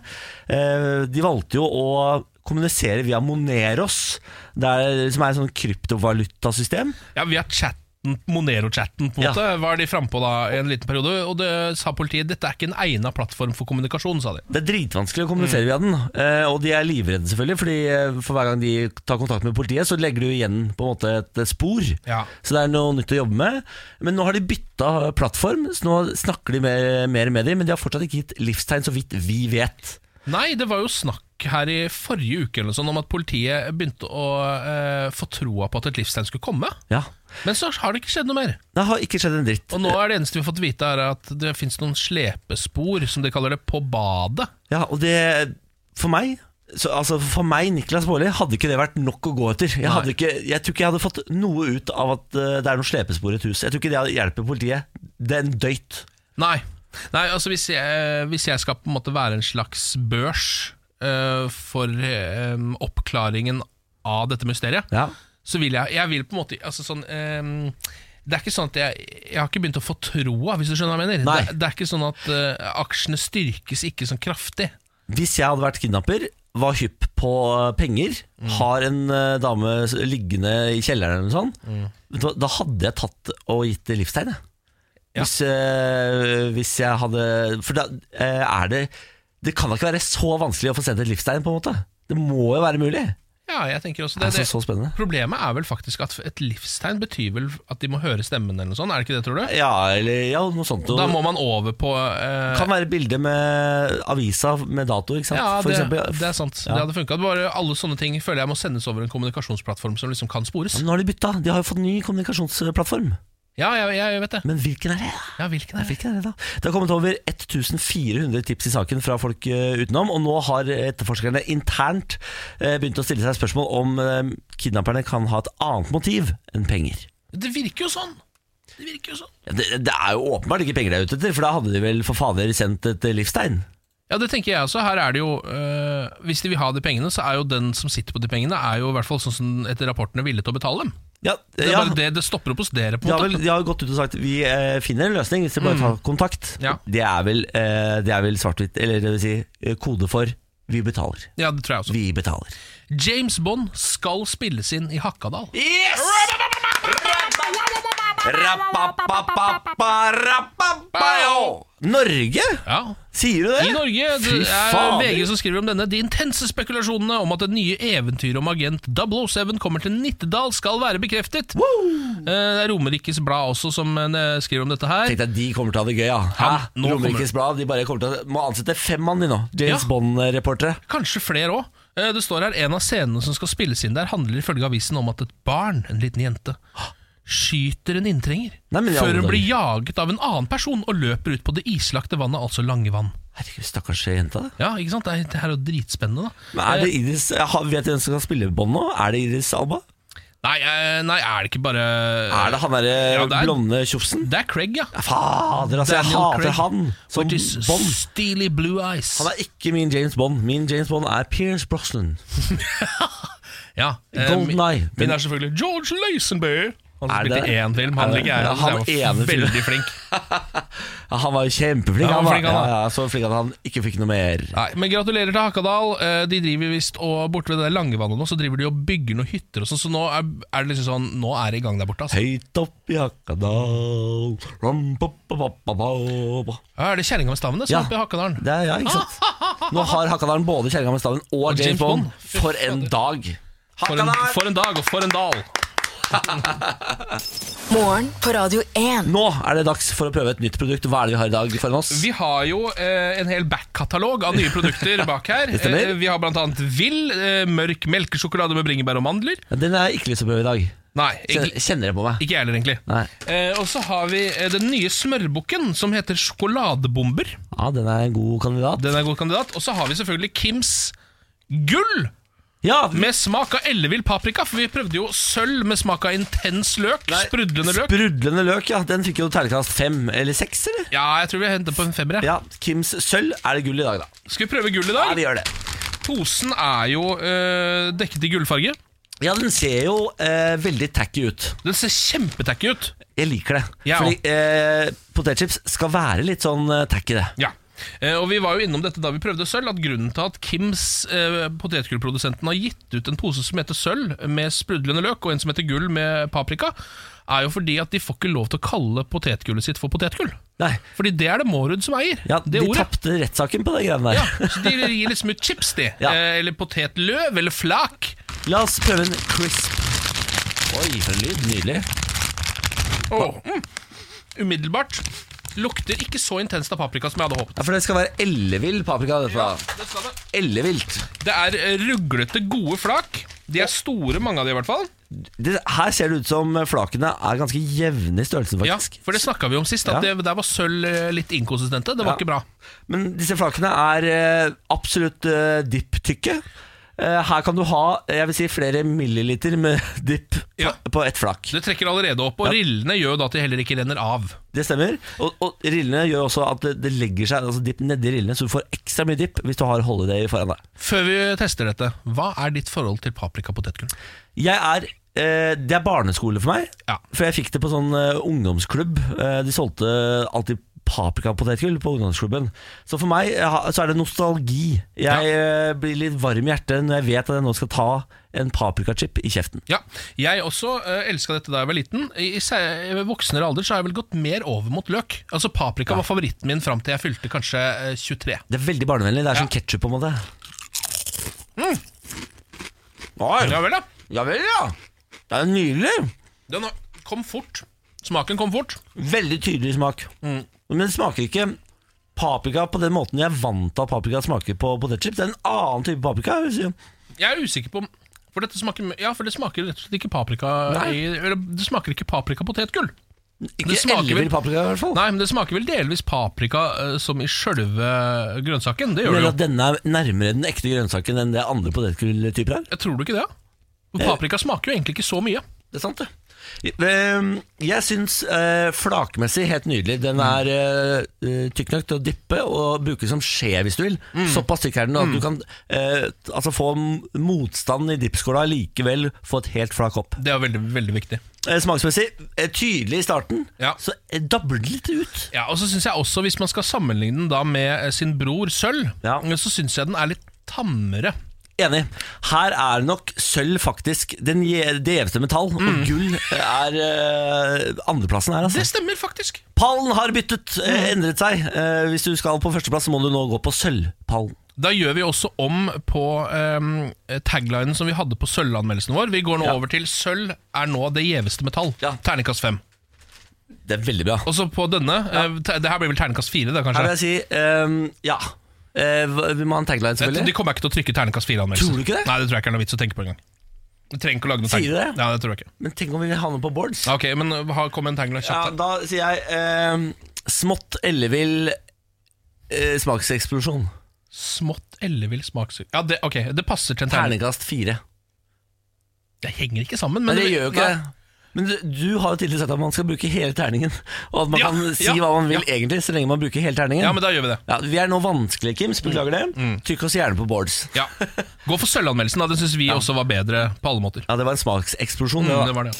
Eh, De valgte jo å kommunisere via Moneros, der, som er et sånn kryptovalutasystem. Ja, vi har chatten, Monero-chatten, på en Ja. måte, var de frampå da i en liten periode. Og det sa politiet dette er ikke en egna plattform for kommunikasjon, sa de. Det er dritvanskelig å kommunisere via den, eh, og de er livredde selvfølgelig, fordi eh, for hver gang de tar kontakt med politiet, så legger du igjen på en måte et eh, spor. Ja. Så det er noe nytt å jobbe med. Men nå har de bytta plattform, så nå snakker de mer, mer med dem, men de har fortsatt ikke gitt livstegn, så vidt vi vet. Nei, det var jo snakk her i forrige uke eller noe sånt, om at politiet begynte å eh, få troa på at et livstegn skulle komme. Ja. Men så har det ikke skjedd noe mer. Det har ikke skjedd en dritt. Og nå er det eneste vi har fått vite, er at det fins noen slepespor, som de kaller det, på badet. Ja, og det For meg så, altså For meg, Niklas Baarli, hadde ikke det vært nok å gå etter. Jeg, hadde Nei. ikke, jeg tror ikke jeg hadde fått noe ut av at eh, det er noe slepespor i et hus. Jeg tror ikke det hjelper politiet. Det er en døyt. Nei. Nei, altså hvis jeg, hvis jeg skal på en måte være en slags børs eh, for eh, oppklaringen av dette mysteriet, Ja. så vil jeg Jeg vil på en måte altså sånn, ehm, Det er ikke sånn at jeg Jeg har ikke begynt å få troa, hvis du skjønner hva jeg mener. Nei. Det, det er ikke sånn at eh, aksjene styrkes ikke sånn kraftig. Hvis jeg hadde vært kidnapper, var hypp på eh, penger, Mm. har en eh, dame s- liggende i kjelleren eller noe sånt, Mm. da, da hadde jeg tatt og gitt det livstegn. jeg. Ja. Hvis, eh, hvis jeg hadde For da eh, er det Det kan da ikke være så vanskelig å få sendt et livstegn, på en måte. Det må jo være mulig. Ja, jeg tenker også Det det. er det. Altså, så spennende. Problemet er vel faktisk at et livstegn betyr vel at de må høre stemmen eller noe sånt, er det ikke det, tror du? Ja, eller ja, noe sånt. Da må man over på eh, det kan være bilde med avisa med dato, ikke sant? Ja, For det, eksempel. det er sant. Ja. Det hadde funka. Bare alle sånne ting føler jeg må sendes over en kommunikasjonsplattform som liksom kan spores. Men Nå har de bytta. De har jo fått ny kommunikasjonsplattform. Ja, jeg, jeg vet det. Men hvilken er det? Ja, hvilken Nei, er det? fikk jeg det da Det har kommet over 1400 tips i saken fra folk eh, utenom, og nå har etterforskerne internt eh, begynt å stille seg spørsmål om eh, kidnapperne kan ha et annet motiv enn penger. Det virker jo sånn! Det virker jo sånn. Ja, Det, det er jo åpenbart ikke penger de er ute etter, for da hadde de vel for fader sendt et eh, livstegn. Ja, det tenker jeg også. Her er det jo øh, Hvis de vil ha de pengene, så er jo den som sitter på de pengene, Er jo i hvert fall sånn som etter rapportene villig til å betale dem. Ja, Det, er ja. bare det, det stopper opp hos dere, på De en har, måte. vel, de har jo gått ut og sagt vi eh, finner en løsning hvis dere bare tar kontakt. Mm. Ja. Det er vel, eh, det er vel svart-hvitt, eller det vil si eh, kode for vi betaler. Ja, det tror jeg også. Vi betaler. James Bond skal spilles inn i Hakadal. Yes! Rappapapapaparapapayo. Norge? Ja, Sier du det? I Norge det Fy er fader. VG som skriver om denne. De intense spekulasjonene om at det nye eventyret om agent 007 kommer til Nittedal, skal være bekreftet. Eh, Det er Romerikes Blad også som eh, skriver om dette her. Tenk deg, de kommer til å ha det gøy, ja. Hæ? Ja, nå kommer- Romerikes Blad, de bare kommer til å Må ansette fem mann, de nå. James Ja. Bond-reportere. Kanskje flere òg. Det står her en av scenene som skal spilles inn der, handler ifølge avisen om at et barn, en liten jente, skyter en inntrenger Nei, men i alle før hun dager. blir jaget av en annen person og løper ut på det islagte vannet, altså Langevann. Herregud, stakkars jenta. da. Ja, ikke sant? Det er, det er jo dritspennende, da. Men er det Iris ha- Vet du hvem som skal spille Bond nå? Er det Iris Alba? Nei, eh, nei, er det ikke bare Er det han derre Ja, det er- blonde tjofsen? Det er Craig, ja. Fader, altså, jeg Daniel hater Craig. han som With his Bond. steely blue eyes. Han er ikke min James Bond. Min James Bond er Pierce Brosnan. ja, eh, Golden min- Eye. Min er selvfølgelig George Lazenby. Han som Er det spilte det? i én film. Er Han det- ligger her. Ja, han Han er ene jo filmen. veldig flink. Ja, han var jo kjempeflink. Ja, han han var var flink, han, da. ja, ja, så flink at han ikke fikk noe mer. Nei, men gratulerer til Hakadal. Eh, De driver visst og borte ved det der Langevannet nå, så driver de og bygger noen hytter og sånn, så nå er, er det liksom sånn Nå er det i gang der borte, altså. Høyt opp i Hakadal ram, pa, pa, pa, pa, pa, pa. Ja, er det kjerringa med stavene som Ja. er oppe i Hakadalen? Det er ja, ikke sant? Nå har Hakadalen både Kjerringa med staven og, James James Bond. Bond. For en dag! For en, Hakadal! for en dag og for en dal. Morgen på Radio 1. Nå er det dags for å prøve et nytt produkt. Hva er det vi har i dag foran oss? Vi har jo eh, en hel back-katalog av nye produkter bak her. Det stemmer. Eh, vi har blant annet Vill, eh, mørk melkesjokolade med bringebær og mandler. Den er ikke lyst til å prøve i dag. Nei, Kjenner ikke, kjenner det på meg. ikke jeg heller, egentlig. Nei. Eh, og så har vi eh, den nye smørbukken som heter sjokoladebomber. Ja, den er en god kandidat. Den er en god kandidat. Og så har vi selvfølgelig Kims gull. Ja, Med smak av ellevill paprika, for vi prøvde jo sølv med smak av intens løk. sprudlende løk. Sprudlende løk, ja. Den fikk jo terningkast fem eller seks, eller? Ja, jeg tror vi henter på en femmer. jeg. Ja, Kims sølv er det gull i dag, da. Skal vi prøve gull i Ja, dag? vi gjør det. Posen er jo øh, dekket i gullfarge. Ja, den ser jo eh, veldig tacky ut. Den ser kjempetacky ut. Jeg liker det. Ja. Fordi eh, potetchips skal være litt sånn eh, tacky, det. Ja. Eh, og Vi var jo innom dette da vi prøvde sølv, at grunnen til at Kims, eh, potetgullprodusenten, har gitt ut en pose som heter sølv med sprudlende løk, og en som heter gull med paprika, er jo fordi at de får ikke lov til å kalle potetgullet sitt for potetgull. Nei. Fordi det er det Mårud som eier. Ja, det de tapte rettssaken på de greiene Ja, der. så De gir liksom ut chips, de. Ja. Eh, eller potetløv, eller flak. La oss prøve en crisp. Oi, for en lyd. Nydelig. Åh, mm. Umiddelbart lukter ikke så intenst av paprika som jeg hadde håpet. Ja, For det skal være ellevill paprika. Dette. da. Det, skal det. Ellevilt. det er eh, ruglete, gode flak. De er store, mange av de i hvert fall. Det, her ser det ut som flakene er ganske jevne i størrelsen, Ja, faktisk. for det snakka vi om sist, at Ja. det der var sølv eh, litt inkonsistente. Det var Ja. ikke bra. Men disse flakene er eh, absolutt eh, dipptykke. Eh, her kan du ha eh, jeg vil si, flere milliliter med dipp Ja. på, på ett flak. Det trekker allerede opp, og rillene gjør jo da at de heller ikke renner av. Det stemmer. Og, og rillene gjør også at det, det legger seg altså dipp nedi rillene, så du får ekstra mye dipp hvis du har holiday foran deg. Før vi tester dette, hva er ditt forhold til paprikapotetgull? Jeg er eh, Det er barneskole for meg. Ja. For jeg fikk det på sånn eh, ungdomsklubb. Eh, de solgte alltid paprikapotetgull på ungdomsklubben. Så for meg eh, ha- så er det nostalgi. Jeg Ja. eh, blir litt varm i hjertet når jeg vet at jeg nå skal ta en paprikachip i kjeften. Ja, jeg også uh, elska dette da jeg var liten. I, i se- i voksnere alder så har jeg vel gått mer over mot løk. Altså Paprika var favoritten min fram til jeg fylte kanskje eh, 23. Det er veldig barnevennlig. Det Ja. er Mm. som ketsjup, på en måte. Ja vel, da. Ja vel, ja. Det er nydelig. Den har- kom fort. Smaken kom fort. Veldig tydelig smak. Mm. Men det smaker ikke paprika på den måten jeg er vant til at paprika smaker på potetchips. Det er en annen type paprika. Jeg vil si. Jeg er usikker på om for dette smaker, ja, for det smaker rett og slett ikke paprika Nei. i, Eller det smaker ikke paprikapotetgull. Ikke Det smaker vel- ellevill paprika, i hvert fall. Nei, men det smaker vel delvis paprika eh, som i sjølve grønnsaken. Det Jeg gjør det mener jo. at denne er nærmere den ekte grønnsaken enn det andre potetgulltyper er. Jeg tror du ikke det? For Paprika smaker jo egentlig ikke så mye. Det er sant, det. Jeg, ehm, jeg syns eh, flakmessig helt nydelig. Mm. Den er eh, eh, tykk nok til å dyppe og bruke som skje hvis du vil. Mm. Såpass tykk er den at du kan eh, altså få m- motstand i dippskåla likevel få et helt flak opp. Det er veldig, veldig viktig. Eh, smaksmessig eh, tydelig i starten, Ja. så eh, dabler det litt ut. Ja, og så synes jeg også Hvis man skal sammenligne den da med eh, sin bror Sølv, eh, Ja. så syns jeg den er litt tammere. Enig. Her er nok sølv faktisk den je- det gjeveste metall, og gull er eh, andreplassen her, altså. Det stemmer faktisk. Pallen har byttet, eh, endret seg. Eh, hvis du skal på førsteplass, så må du nå gå på sølvpallen. Da gjør vi også om på ehm, taglinen som vi hadde på sølvanmeldelsen vår. Vi går nå over til sølv er nå det gjeveste metall. Ja. Terningkast fem. Det er veldig bra. Og så på denne eh, te- Det her blir vel terningkast fire, da, Her vil kanskje? jeg si ehm, ja. Eh, hva- vi må ha en tagline, Det- de selvfølgelig. kommer ikke til å trykke terningkast fire-anmeldelse. Tror du ikke det? Nei, det tror jeg ikke er noe vits å tenke på engang. Du trenger ikke å lage noe Sier tagline. du det? Ja, det tror jeg ikke. Men tenk om vi havner på boards. Ok, men eh, ha- kom med en tagline Ja, kjapt. da sier jeg ehm, smått ellevill eh, smakseksplosjon. Smått ellevill smaksug... Ja, det, ok, det passer til en terning. Terningkast fire. Det henger ikke sammen, men Men det gjør jo ikke Nei. det. Men du, du har jo tidligere sagt at man skal bruke hele terningen. Og at man Ja, kan si ja, hva man vil ja. egentlig, så lenge man bruker hele terningen. Ja, men da gjør vi det. Mm. Ja, vi er nå vanskelige, Kims. Beklager det. Tykk oss gjerne på boards. Ja. Gå for sølvanmeldelsen, da. Den syns vi også var bedre på alle måter. Mm, Ja, det var en smakseksplosjon. det da. Det var det.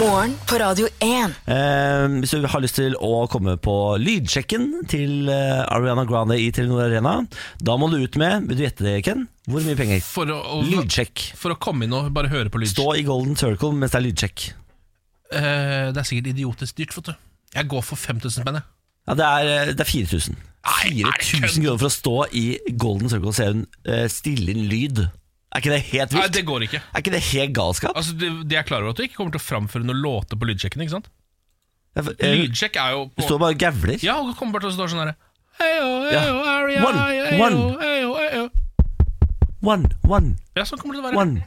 Morgen på Radio 1. Eh, hvis du har lyst til å komme på lydsjekken til eh, Ariana Grande i Telenor Arena, da må du ut med Vil du gjette det, Ken? Hvor mye penger? For å, å, Lydsjekk. for å komme inn og bare høre på lyd. Stå i Golden Circle mens det er lydsjekk. Eh, det er sikkert idiotisk dyrt, vet du. Jeg går for 5000 spenn, jeg. Ja, det er, eh, det er 4000. Nei, er det 4000 kroner for å stå i Golden Circle og se hun eh, stille inn lyd. Er ikke det helt Nei, vilt? det går ikke. Er ikke det helt galskap? Altså, du, de er klar over at du ikke kommer til å framføre noen låter på lydsjekken, ikke sant? Jeg- jeg- Lydsjekk er jo Eh, Du på står bare og gavler. Ja, og kommer bare til å stå sånn herre Heyo, Ja. heyo, Aria, One, heyo, one. heyo, heyo. One, one, Ja, sånn kommer det til å være. one,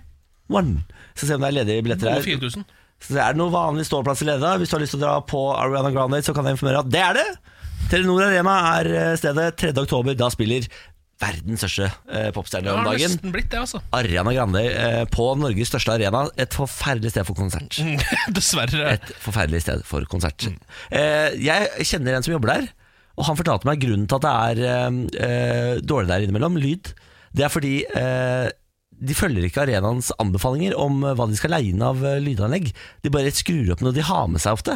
one. Så se om det er ledige billetter Gode her. 4000. Så er det noen vanlig ståplass i Leda. Hvis du har lyst til å dra på Ariana Grande, så kan jeg informere at det er det. Telenor Arena er eh, stedet 3. oktober. Da spiller verdens største eh, popstjerne Det om har dagen. nesten blitt det, altså. Ariana Grande eh, på Norges største arena. Et forferdelig sted for konsert. Dessverre. Et forferdelig sted for konsert. Eh, jeg kjenner en som jobber der, og han fortalte meg grunnen til at det er eh, eh, dårlig der innimellom, lyd. Det er fordi eh, de følger ikke arenaens anbefalinger om eh, hva de skal leie inn av eh, lydanlegg. De bare skrur opp noe de har med seg ofte.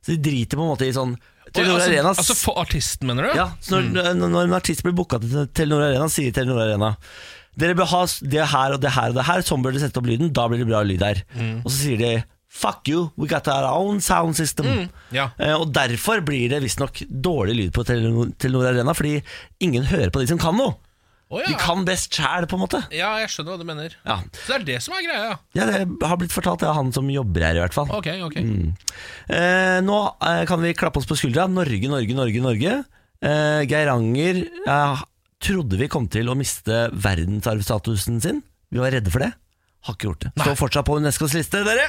Så de driter på en måte i sånn Telenor altså, Arenas altså for artisten, mener du? ja, så Mm. når, når- når en artist blir booka til Telenor Arena, sier Telenor Arena Dere bør ha s- det her og det her og det her, sånn bør dere sette opp lyden, da blir det bra lyd her. Mm. Og så sier de fuck you, we got our own sound system. Mm, ja. Eh, og derfor blir det visstnok dårlig lyd på Telenor, Telenor Arena, fordi ingen hører på de som kan noe. Å, De ja. kan best sjæl, på en måte. ja, jeg skjønner hva du mener. Ja. Så det er det som er greia, ja. ja, det har blitt fortalt, det er han som jobber her, i hvert fall. Ok, ok. Eh, nå eh, kan vi klappe oss på skuldra. Norge, Norge, Norge, Norge. Eh, Geiranger eh, trodde vi kom til å miste verdensarvstatusen sin. Vi var redde for det. Har ikke gjort det. Står fortsatt på UNESCOs liste, dere!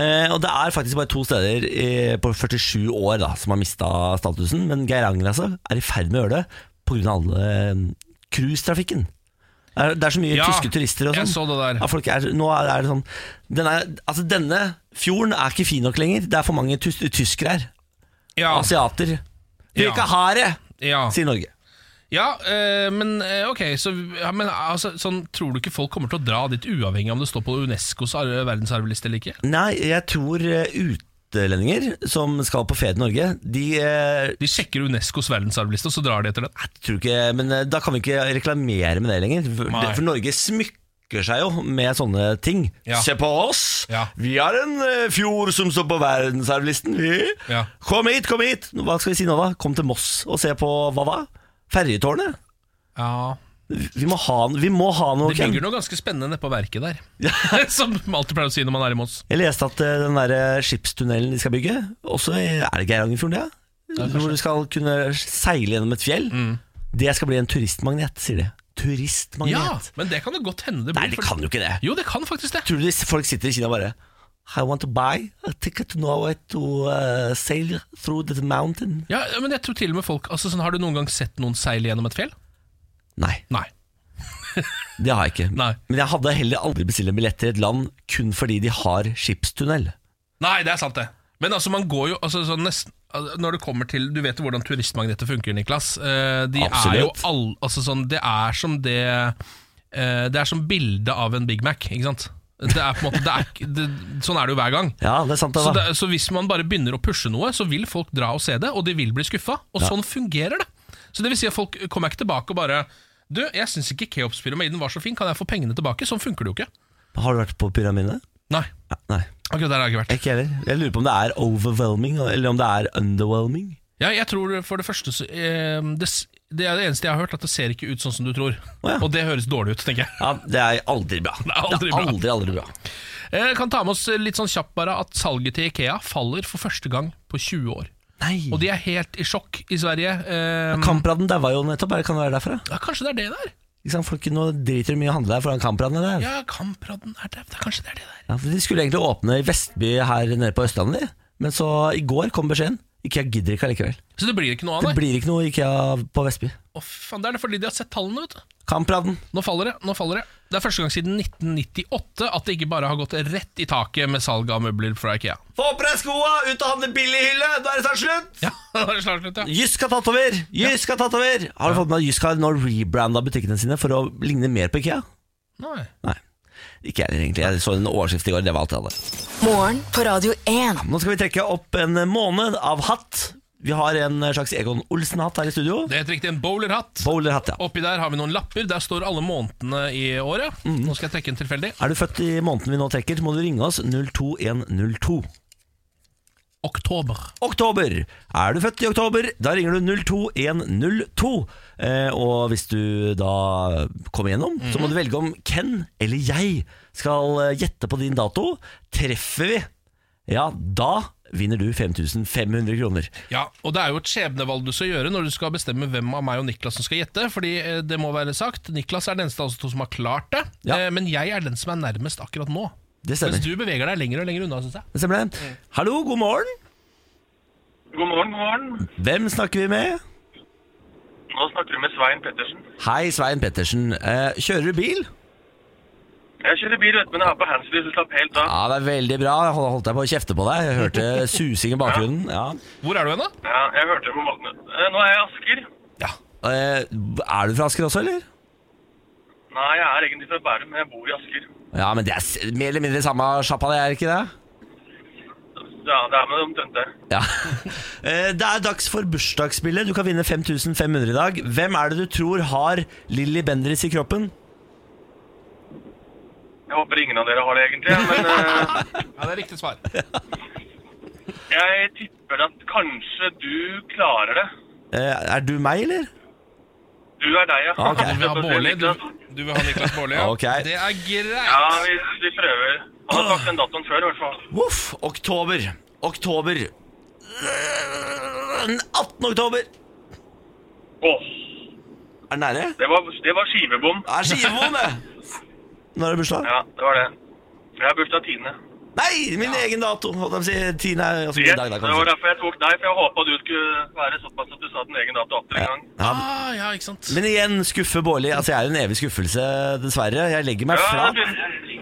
Eh, og det er faktisk bare to steder i, på 47 år da, som har mista statusen. Men Geiranger altså, er i ferd med å gjøre det pga. alle eh, cruisetrafikken. Det er- det er så mye Ja, tyske turister og jeg sånn. så det der. Ja, folk er, nå er er det sånn den er, altså Denne fjorden er ikke fin nok lenger. Det er for mange tys tyskere her. Ja, Asiater. Vi vil Ja. ikke ha det, ja. sier Norge. ja eh, men eh, ok, så ja, men, altså, sånn, tror du ikke folk kommer til å dra dit uavhengig av om det står på UNESCOs ar- verdensarvliste eller ikke? Nei, jeg tror eh, utlendinger som skal på ferie til Norge, de eh, De sjekker UNESCOs verdensarvliste, og så drar de etter den. tror ikke, Men eh, da kan vi ikke reklamere med det lenger. For, Nei. for Norge smykker seg jo med sånne ting. Ja. Se på oss! Ja. Vi har en eh, fjord som står på verdensarvlisten, vi. Ja. Kom hit, kom hit! Hva skal vi si nå, da? Kom til Moss og se på hva da? Ferjetårnet? Ja, Vi må ha, vi må ha noe Det Ken. ligger noe ganske spennende nedpå verket der. Som man alltid pleier å si når man er i Moss. Jeg leste at eh, den der eh, skipstunnelen de skal bygge Også i- er det Geirangerfjorden det? Ja, Hvor du skal kunne seile gjennom et fjell Mm. Det skal bli en turistmagnet, sier de Ja, Turistmagnet? men det kan jo godt hende det blir. Nei, de kan jo ikke det Jo, det kan faktisk det. Tror du de- folk sitter i Kina og bare I want to buy a ticket to Norway to eh, sail through this mountain Ja, men jeg tror til og med folk altså, sånn, Har du noen gang sett noen seile gjennom et fjell? Nei, Nei. det har jeg ikke Nei. Men jeg hadde heller aldri bestilt en billett til et land Kun fordi de har skipstunnel Nei, det er sant, det. Men altså, man går jo altså, sånn nesten altså, når det kommer til, Du vet jo hvordan turistmagneter funker, Niklas. Eh, de er jo Absolutt. all, altså, sånn, Det er som det eh, Det er som bildet av en Big Mac, ikke sant? Det er på en måte, det er, ikke- det, Sånn er det jo hver gang. Ja, det er sant det Så, da det, så hvis man bare begynner å pushe noe, så vil folk dra og se det, og de vil bli skuffa. Og sånn fungerer det. Så det vil si at folk kommer ikke tilbake og bare Du, jeg syns ikke Keops-pyramiden var så fin, kan jeg få pengene tilbake? Sånn funker det jo ikke. Har du vært på pyramidene? Nei, Nei akkurat der har jeg ikke vært. Ikke heller. Jeg lurer på om det er overwhelming, eller om det er underwhelming. Ja, jeg tror for det første så, eh, det, s- det er det eneste jeg har hørt, at det ser ikke ut sånn som du tror. Å, ja. Og det høres dårlig ut, tenker jeg. Ja, Det er aldri bra. er aldri det er bra. aldri, aldri bra. Eh, kan ta med oss litt sånn kjapt bare at salget til Ikea faller for første gang på 20 år. Nei. Og de er helt i sjokk i Sverige. Eh, Kampraden daua jo nettopp, er det kan det være derfra? ja, kanskje det er det der? Ikke sant? Folk nå driter de mye i å handle der foran Kampraden. Der. Ja. Ja, Kampradden er der. Kanskje det er det der. for de skulle egentlig åpne i Vestby her nede på Østlandet, de. men så i går kom beskjeden. Ikea gidder ikke allikevel. Så det blir ikke noe av Det det? blir ikke noe Ikea på Vestby. Å, faen, det er det fordi de har sett tallene, vet du. Kampraden. Nå faller det. nå faller Det Det er første gang siden 1998 at det ikke bare har gått rett i taket med salg av møbler fra Ikea. Få på deg skoa, ut og handle billighylle! Da er det snart slutt! Ja, da er det snart slutt, ja. Jysk har tatt over! Jysk har tatt over! Har du fått med at Jysk har nå rebranda butikkene sine for å ligne mer på Ikea? Nei. Nei, ikke jeg heller egentlig. Jeg så en overskrift i går, det var alt jeg hadde. Morgen på Radio 1. Nå skal vi trekke opp en måned av hatt. Vi har en slags Egon Olsen-hatt her i studio. Det heter riktig en bowlerhatt. Bowlerhatt, ja. Oppi der har vi noen lapper. Der står alle månedene i året. Nå skal jeg trekke en tilfeldig. Er du født i måneden vi nå trekker, så må du ringe oss 02102. Oktober. Oktober! Er du født i oktober, da ringer du 02102. Eh, og hvis du da kommer gjennom, så må du velge om Ken eller jeg skal eh, gjette på din dato. Treffer vi, ja, da vinner du 5500 kroner. Ja, og det er jo et skjebnevalg du skal gjøre når du skal bestemme hvem av meg og Niklas som skal gjette. Fordi eh, det må være sagt, Niklas er den eneste av oss to som har klart det. Ja. eh, Men jeg er den som er nærmest akkurat nå. Det Mens stemmer. du beveger deg lenger og lenger unna, syns jeg. Det stemmer det. Hallo, god morgen. God morgen, god morgen. Hvem snakker vi med? Nå snakker du med Svein Pettersen. Hei, Svein Pettersen. Eh, kjører du bil? Jeg kjører bil, vet du, men jeg har på handsfree, så slapp helt av. Ja, det er veldig bra. Jeg hol- holdt jeg på å kjefte på deg. Jeg hørte susing i bakgrunnen. Ja. Hvor er du hen, da? Ja, jeg hørte det på måten. Eh, Nå er jeg i Asker. Eh, er du fra Asker også, eller? Nei, jeg er egentlig fra Bærum, men jeg bor i Asker. Ja, men det er s- mer eller mindre samme sjappa, det er ikke det? Ja, det er med omtrent det. Ja. Eh, Det er dags for bursdagsspillet. Du kan vinne 5500 i dag. Hvem er det du tror har Lilly Bendriss i kroppen? Jeg håper ingen av dere har det egentlig, men eh, Ja, Det er riktig svar. jeg tipper at kanskje du klarer det. Eh, Er du meg, eller? Du er deg, ja. Ah, ok. Du vil ha Bårli. Du, Niklas. du vil ha Niklas Bårli, ja. Ok. Det er greit. Ja, vi, vi prøver. Han har sagt den datoen før, i hvert fall. Voff! Oktober. Oktober. Øh, Den 18. Eh, oktober. Åh, Er den nære? det var, det var skivebom. Er skivebom, det! Når er det bursdag? Ja, det var det. Jeg har bursdag 10. Nei, min egen dato! Holdt jeg på å si. Tina er også Yes, min dag, da, det var kanskje. derfor jeg tok deg, for jeg håpet du skulle være såpass at du sa din egen dato atter en gang. Ja, Ah, ja, ikke sant. men igjen, skuffe Bårli. Altså, jeg er jo en evig skuffelse, dessverre. Jeg legger meg Ja, fra. du,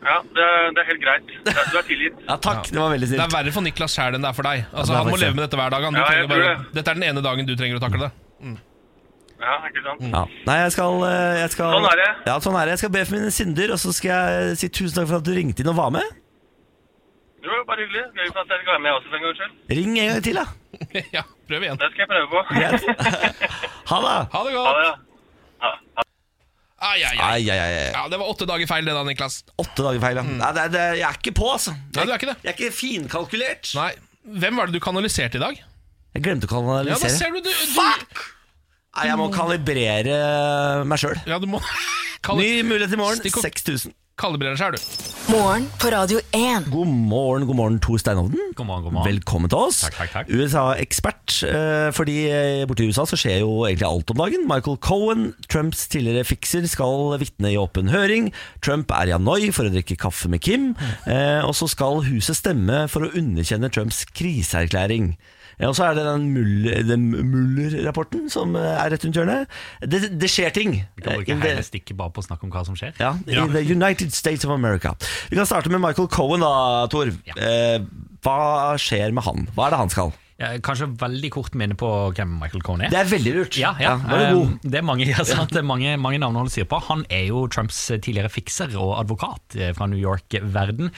ja det, er- det er helt greit. Ja, Du er tilgitt. Ja, takk. Det var veldig Det er snilt. verre for Niklas sjæl enn det er for deg. Altså, det er han må faktisk leve med dette hver dag. Han. Du Ja, jeg trenger bare, tror det. dette er den ene dagen du trenger å takle det. Ja, ikke sant? Ja. Nei, jeg skal, eh, jeg skal Sånn er det. Ja, sånn er det. Jeg skal be for mine synder, og så skal jeg si tusen takk for at du ringte inn og var med. Det var jo bare hyggelig. Gøy for at jeg skal være med også for en gangs skyld. Ring en gang til, da. ja, prøv igjen. Det skal jeg prøve på. Ha det! Ha det Ha godt. det, ja. Ai, ai, ai. Ai, ai, ai. ai. Ja, det var åtte dager feil, det da, Niklas. Åtte dager feil, ja. Nei, det, det, jeg er ikke på, altså. Mm. Nei, du er ikke det. Jeg er ikke finkalkulert. Nei. Hvem var det du kanaliserte i dag? Jeg glemte å Ja, da kanalisere. ser du, du, du Fuck! Nei, jeg må kalibrere meg sjøl. Ja, du må Ny Kal mulighet i morgen. Stikk opp. 6000. Kalibrere seg, er du. Morgen på Radio 1. God morgen, god morgen, Tor Steinovden. God morgen, god morgen. Velkommen til oss. Takk, takk, takk. USA-ekspert. eh, Fordi eh, borte i USA så skjer jo egentlig alt om dagen. Michael Cohen, Trumps tidligere fikser, skal vitne i åpen høring. Trump er i Hanoi for å drikke kaffe med Kim. Eh, Og så skal huset stemme for å underkjenne Trumps kriseerklæring. Eh, Og så er det den Muller- den Muller-rapporten som eh, er rett rundt hjørnet. Det, det skjer ting. Vi kan bruke Eh, det- hele stikket bare på å snakke om hva som skjer. ja, i The United States of America. Vi kan starte med Michael Cohen, da, Tor. Eh, hva skjer med han? Hva er det han skal? Jeg, kanskje veldig kort minne på hvem Michael Cohen er. Det er veldig lurt. ja, ja. Vær så god. Eh, Det er mange, ja, sånn at det er mange, mange navn han sier på. Han er jo Trumps tidligere fikser og advokat eh, fra New York-verden.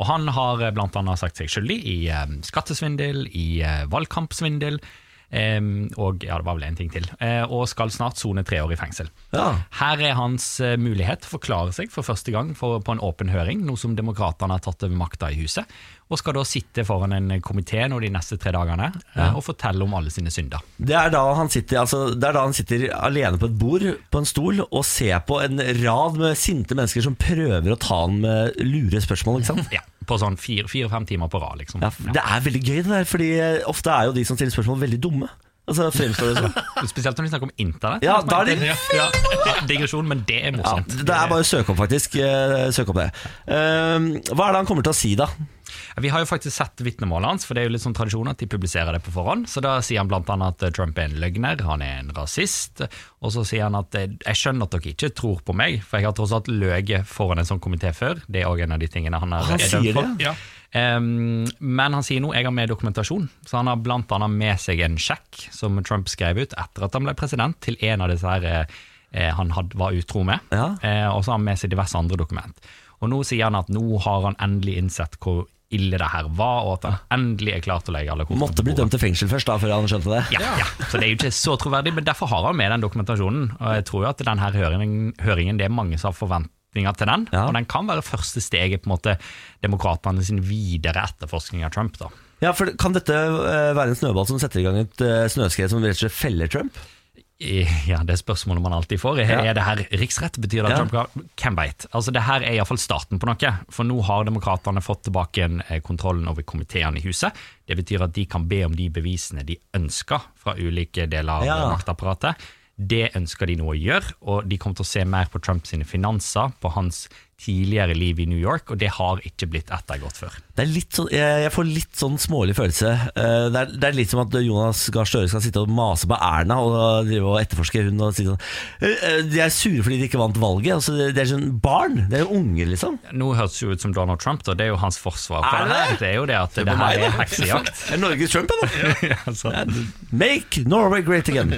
Og han har eh, blant annet sagt seg skyldig i eh, skattesvindel, i eh, valgkampsvindel, eh, og ja, det var vel en ting til. Eh, Og skal snart sone tre år i fengsel. Ja. Her er hans eh, mulighet til å forklare seg for første gang for, på en åpen høring, nå som demokratene har tatt over makta i huset, og skal da sitte foran en komité nå de neste tre dagene eh, og fortelle om alle sine synder. Det, er da han sitter, altså, det er da han sitter alene på et bord på en stol og ser på en rad med sinte mennesker som prøver å ta han med lure spørsmål. ikke sant? Ja, på sånn fire- fire-fem timer på rad, liksom. Ja, det er veldig gøy, det der, fordi eh, ofte er jo de som stiller spørsmål, veldig dumme. Altså, fremstår det sånn. Spesielt når de snakker om internett. Ja, da er de ja. Digresjon, men det er Ja, morsomt. det er bare å søke opp, faktisk. Eh, Søk opp det. Eh, hva er det han kommer til å si, da? Vi har jo faktisk sett vitnemålet hans, for det er jo litt sånn tradisjon at de publiserer det på forhånd. Så da sier han blant annet at Trump er en løgner, han er en rasist. Og så sier han at eh, jeg skjønner at dere ikke tror på meg, for jeg har tross alt løyet foran en sånn komité før. Det er òg en av de tingene han er, Han er dømt sier for. det, Ja. Ehm, men han sier nå jeg har med dokumentasjon, så han har blant annet med seg en sjekk som Trump skrev ut etter at han ble president, til en av disse her eh, han had, var utro med. Ja. Eh, og så har han med seg diverse andre dokument. Og nå sier han at nå har han endelig innsett hvor ille det her var, og at han endelig er klar til å legge alle kortene Måtte bli på bordet. dømt til fengsel først, da, før han skjønte det. Ja, ja, så det er jo ikke så troverdig, men derfor har han med den dokumentasjonen. Og jeg tror jo at denne høringen, høringen det er mange som har forventninger til den, Ja. og den kan være første steget på en måte demokratene sin videre etterforskning av Trump. da. Ja, for Kan dette eh, være en snøball som setter i gang et eh, snøskred som rett og slett feller Trump? Ja, det er spørsmålet man alltid får. Er, er det her riksrett? Betyr det at Ja. Trump kan Hvem veit? Altså, det her er iallfall starten på noe. For nå har demokratene fått tilbake igjen, eh, kontrollen over komiteene i huset. Det betyr at de kan be om de bevisene de ønsker fra ulike deler av Ja. eh, maktapparatet. Det ønsker de nå å gjøre, og de kommer til å se mer på Trumps finanser, på hans tidligere liv i New York, og det har ikke blitt ettergått før. Det er litt sånn, jeg, jeg får litt sånn smålig følelse. Eh, Det er, det er litt som at Jonas Gahr Støre skal sitte og mase på Erna og drive og etterforske hun og si sånn «Eh, eh, De er sure fordi de ikke vant valget. Altså, det det er sånn barn. Det er jo unge, liksom. Nå høres det jo ut som Donald Trump, da. det er jo hans forsvar. på Er det her. det? det er jo det at det, på meg, her da. er heksejakt. Det er Norges Trump, da. altså. Make Norway great again.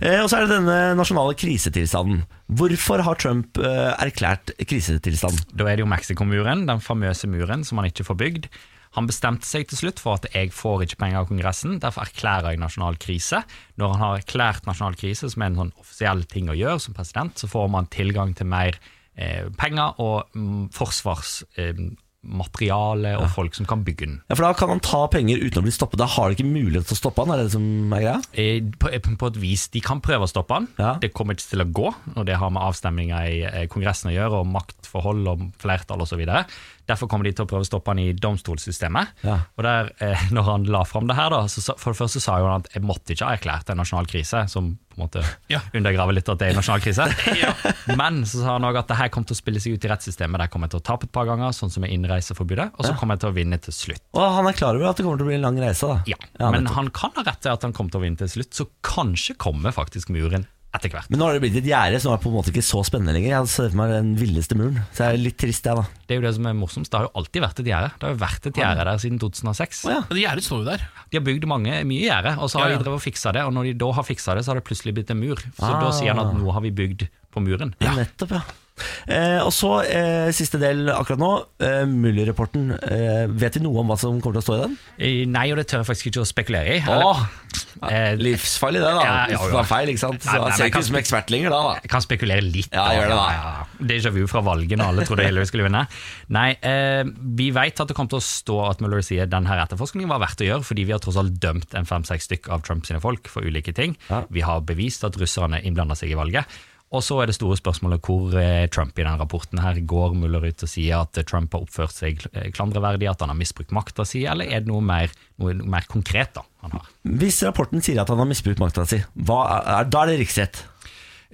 Eh, Og så er det denne nasjonale krisetilstanden. Hvorfor har Trump eh, erklært krisetilstand? Da er det jo Mexicomuren, den famøse muren som han ikke får bygd. Han bestemte seg til slutt for at jeg får ikke penger av Kongressen, derfor erklærer jeg nasjonal krise. Når han har erklært nasjonal krise, som er en sånn offisiell ting å gjøre som president, så får man tilgang til mer eh, penger og mm, forsvarsmateriale eh, materiale og folk som kan bygge den. Ja, For da kan han ta penger uten å bli stoppet. Da har de ikke mulighet til å stoppe han, er det det som er greia? Eh, På, på et vis, De kan prøve å stoppe han. Ja. Det kommer ikke til å gå. og Det har med avstemninger i eh, Kongressen å gjøre, og maktforhold og flertall osv. Derfor kommer de til å prøve å stoppe han i domstolssystemet. Ja. Og der, eh, når han la fram det her, da, så, sa- for det første sa jo han at jeg måtte ikke ha erklært en nasjonal krise, som på en måte Ja. undergraver litt at det er en nasjonal krise. Men så sa han òg at det her kommer til å spille seg ut i rettssystemet. Der kommer jeg til å tape et par ganger, sånn som med innreiseforbudet, og så kommer jeg til å vinne til slutt. Og han er klar over at det kommer til å bli en lang reise, da. Ja, nettopp. men han kan ha rett til at han kommer til å vinne til slutt, så kanskje kommer faktisk muren etter hvert. Men nå har det blitt et gjerde som er på en måte ikke så spennende lenger. Jeg hadde sett for meg den villeste muren. Så jeg er litt trist, jeg, da. Det er jo det som er morsomst. Det har jo alltid vært et gjerde. Det har jo vært et gjerde der siden 2006. ja. Men Gjerdet står jo der. De har bygd mange, mye gjerde, og så har Ja, ja. de drevet og fiksa det. Og når de da har fiksa det, så har det plutselig blitt en mur. Så Ah. da sier han at nå har vi bygd på muren. Nettopp, ja. Eh, og så eh, siste del akkurat nå. Eh, Muller-rapporten. Eh, vet vi noe om hva som kommer til å stå i den? Eh, Nei, og det tør jeg faktisk ikke å spekulere i. Åh, eh, livsfarlig det, da. Ja, ja, ja. Hvis det var feil, ikke sant? Så Nei, nei, jeg ser men ikke kan- ut som ekspert lenger da. da. Jeg kan spekulere litt. Ja, gjør det da. Ja, ja. Déjà vu fra valget når alle trodde Hillary skulle vinne. Nei, eh, vi vet at det kommer til å stå at Mueller sier denne etterforskningen var verdt å gjøre, fordi vi har tross alt dømt en fem-seks stykk av Trump sine folk for ulike ting. Vi har bevist at russerne innblanda seg i valget. Og så er det store spørsmålet hvor eh, Trump i denne rapporten her går Mueller ut og sier at eh, Trump har oppført seg eh, klandreverdig, at han har misbrukt makta si, eller er det noe mer, noe, noe mer konkret da han har? Hvis rapporten sier at han har misbrukt makta si, hva er, da er det riksrett.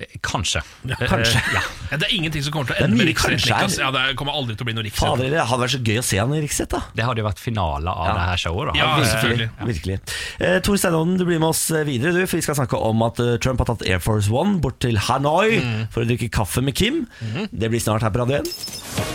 Eh, Kanskje. kanskje. Eh, ja. Ja, det er ingenting som kommer til å er ende med mye riksrett. kanskje her. Niklas. Ja, det kommer aldri til å bli noe riksrett. Fader, det hadde vært så gøy å se han i riksrett, da. Det hadde jo vært finale av det her showet, da. Ja, Eh, selvfølgelig. Virkelig. Eh, Tor Steinodden, du blir med oss eh, videre, du, for vi skal snakke om at eh, Trump har tatt Air Force One bort til Hanoi Mm. for å drikke kaffe med Kim. Det blir snart her på Radio 1.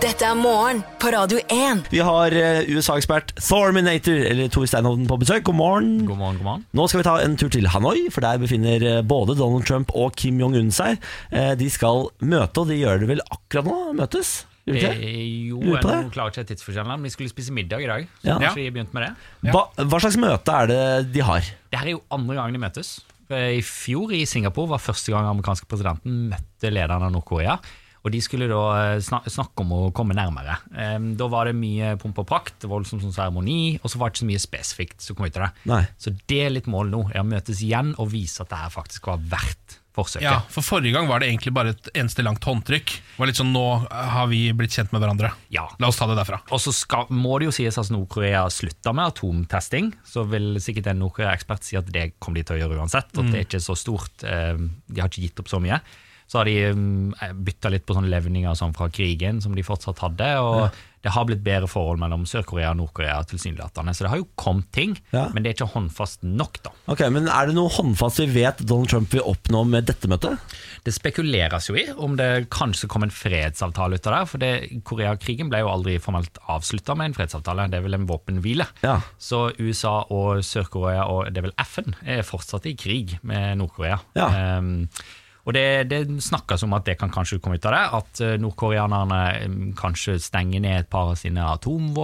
Dette er morgen på Radio 1. Vi har eh, USA-ekspert Thorminator, eller Tor Steinodden, på besøk. God morgen. God morgen, god morgen. Nå skal vi ta en tur til Hanoi, for der befinner eh, både Donald Trump og Kim Jong-un seg. Eh, De skal møte, og de gjør det vel akkurat nå? Møtes? Gjør de ikke det? Eh, jo, Lurer på jeg det. klarer ikke tidsforskjellen, men vi skulle spise middag i dag. Så Ja. kanskje vi begynte med det. Hva, hva slags møte er det de har? Det her er jo andre gangen de møtes. Eh, I fjor i Singapore var første gang amerikanske presidenten møtte lederen av Nord-Korea. Og de skulle da eh, snak snakke om å komme nærmere. Eh, Da var det mye pomp og prakt, voldsom sånn seremoni, og så var det ikke så mye spesifikt som kom ut av det. Nei. Så det er litt mål nå, er å møtes igjen og vise at det her faktisk var verdt forsøket. Ja, for Forrige gang var det egentlig bare et eneste langt håndtrykk. Det var litt sånn, Nå har vi blitt kjent med hverandre. Ja. La oss ta det derfra. Og så skal, må det jo sies at Nord-Korea slutta med atomtesting. Så vil sikkert en Nord-Korea-ekspert si at det kommer de til å gjøre uansett. At det er ikke så stort. eh, De har ikke gitt opp så mye. Så har de bytta litt på sånne levninger og sånn fra krigen som de fortsatt hadde. Og det har blitt bedre forhold mellom Sør-Korea og Nord-Korea tilsynelatende. Så det har jo kommet ting, Ja. men det er ikke håndfast nok, da. Ok, men Er det noe håndfast vi vet Donald Trump vil oppnå med dette møtet? Det spekuleres jo i om det kanskje kom en fredsavtale ut av det. For det, Koreakrigen ble jo aldri formelt avslutta med en fredsavtale. Det er vel en våpenhvile. Ja. Så USA og Sør-Korea og det er vel FN er fortsatt i krig med Nord-Korea. Ja. Ehm, og det, det snakkes om at det kan kanskje komme ut av det. At eh, nordkoreanerne em, kanskje stenger ned et par av sine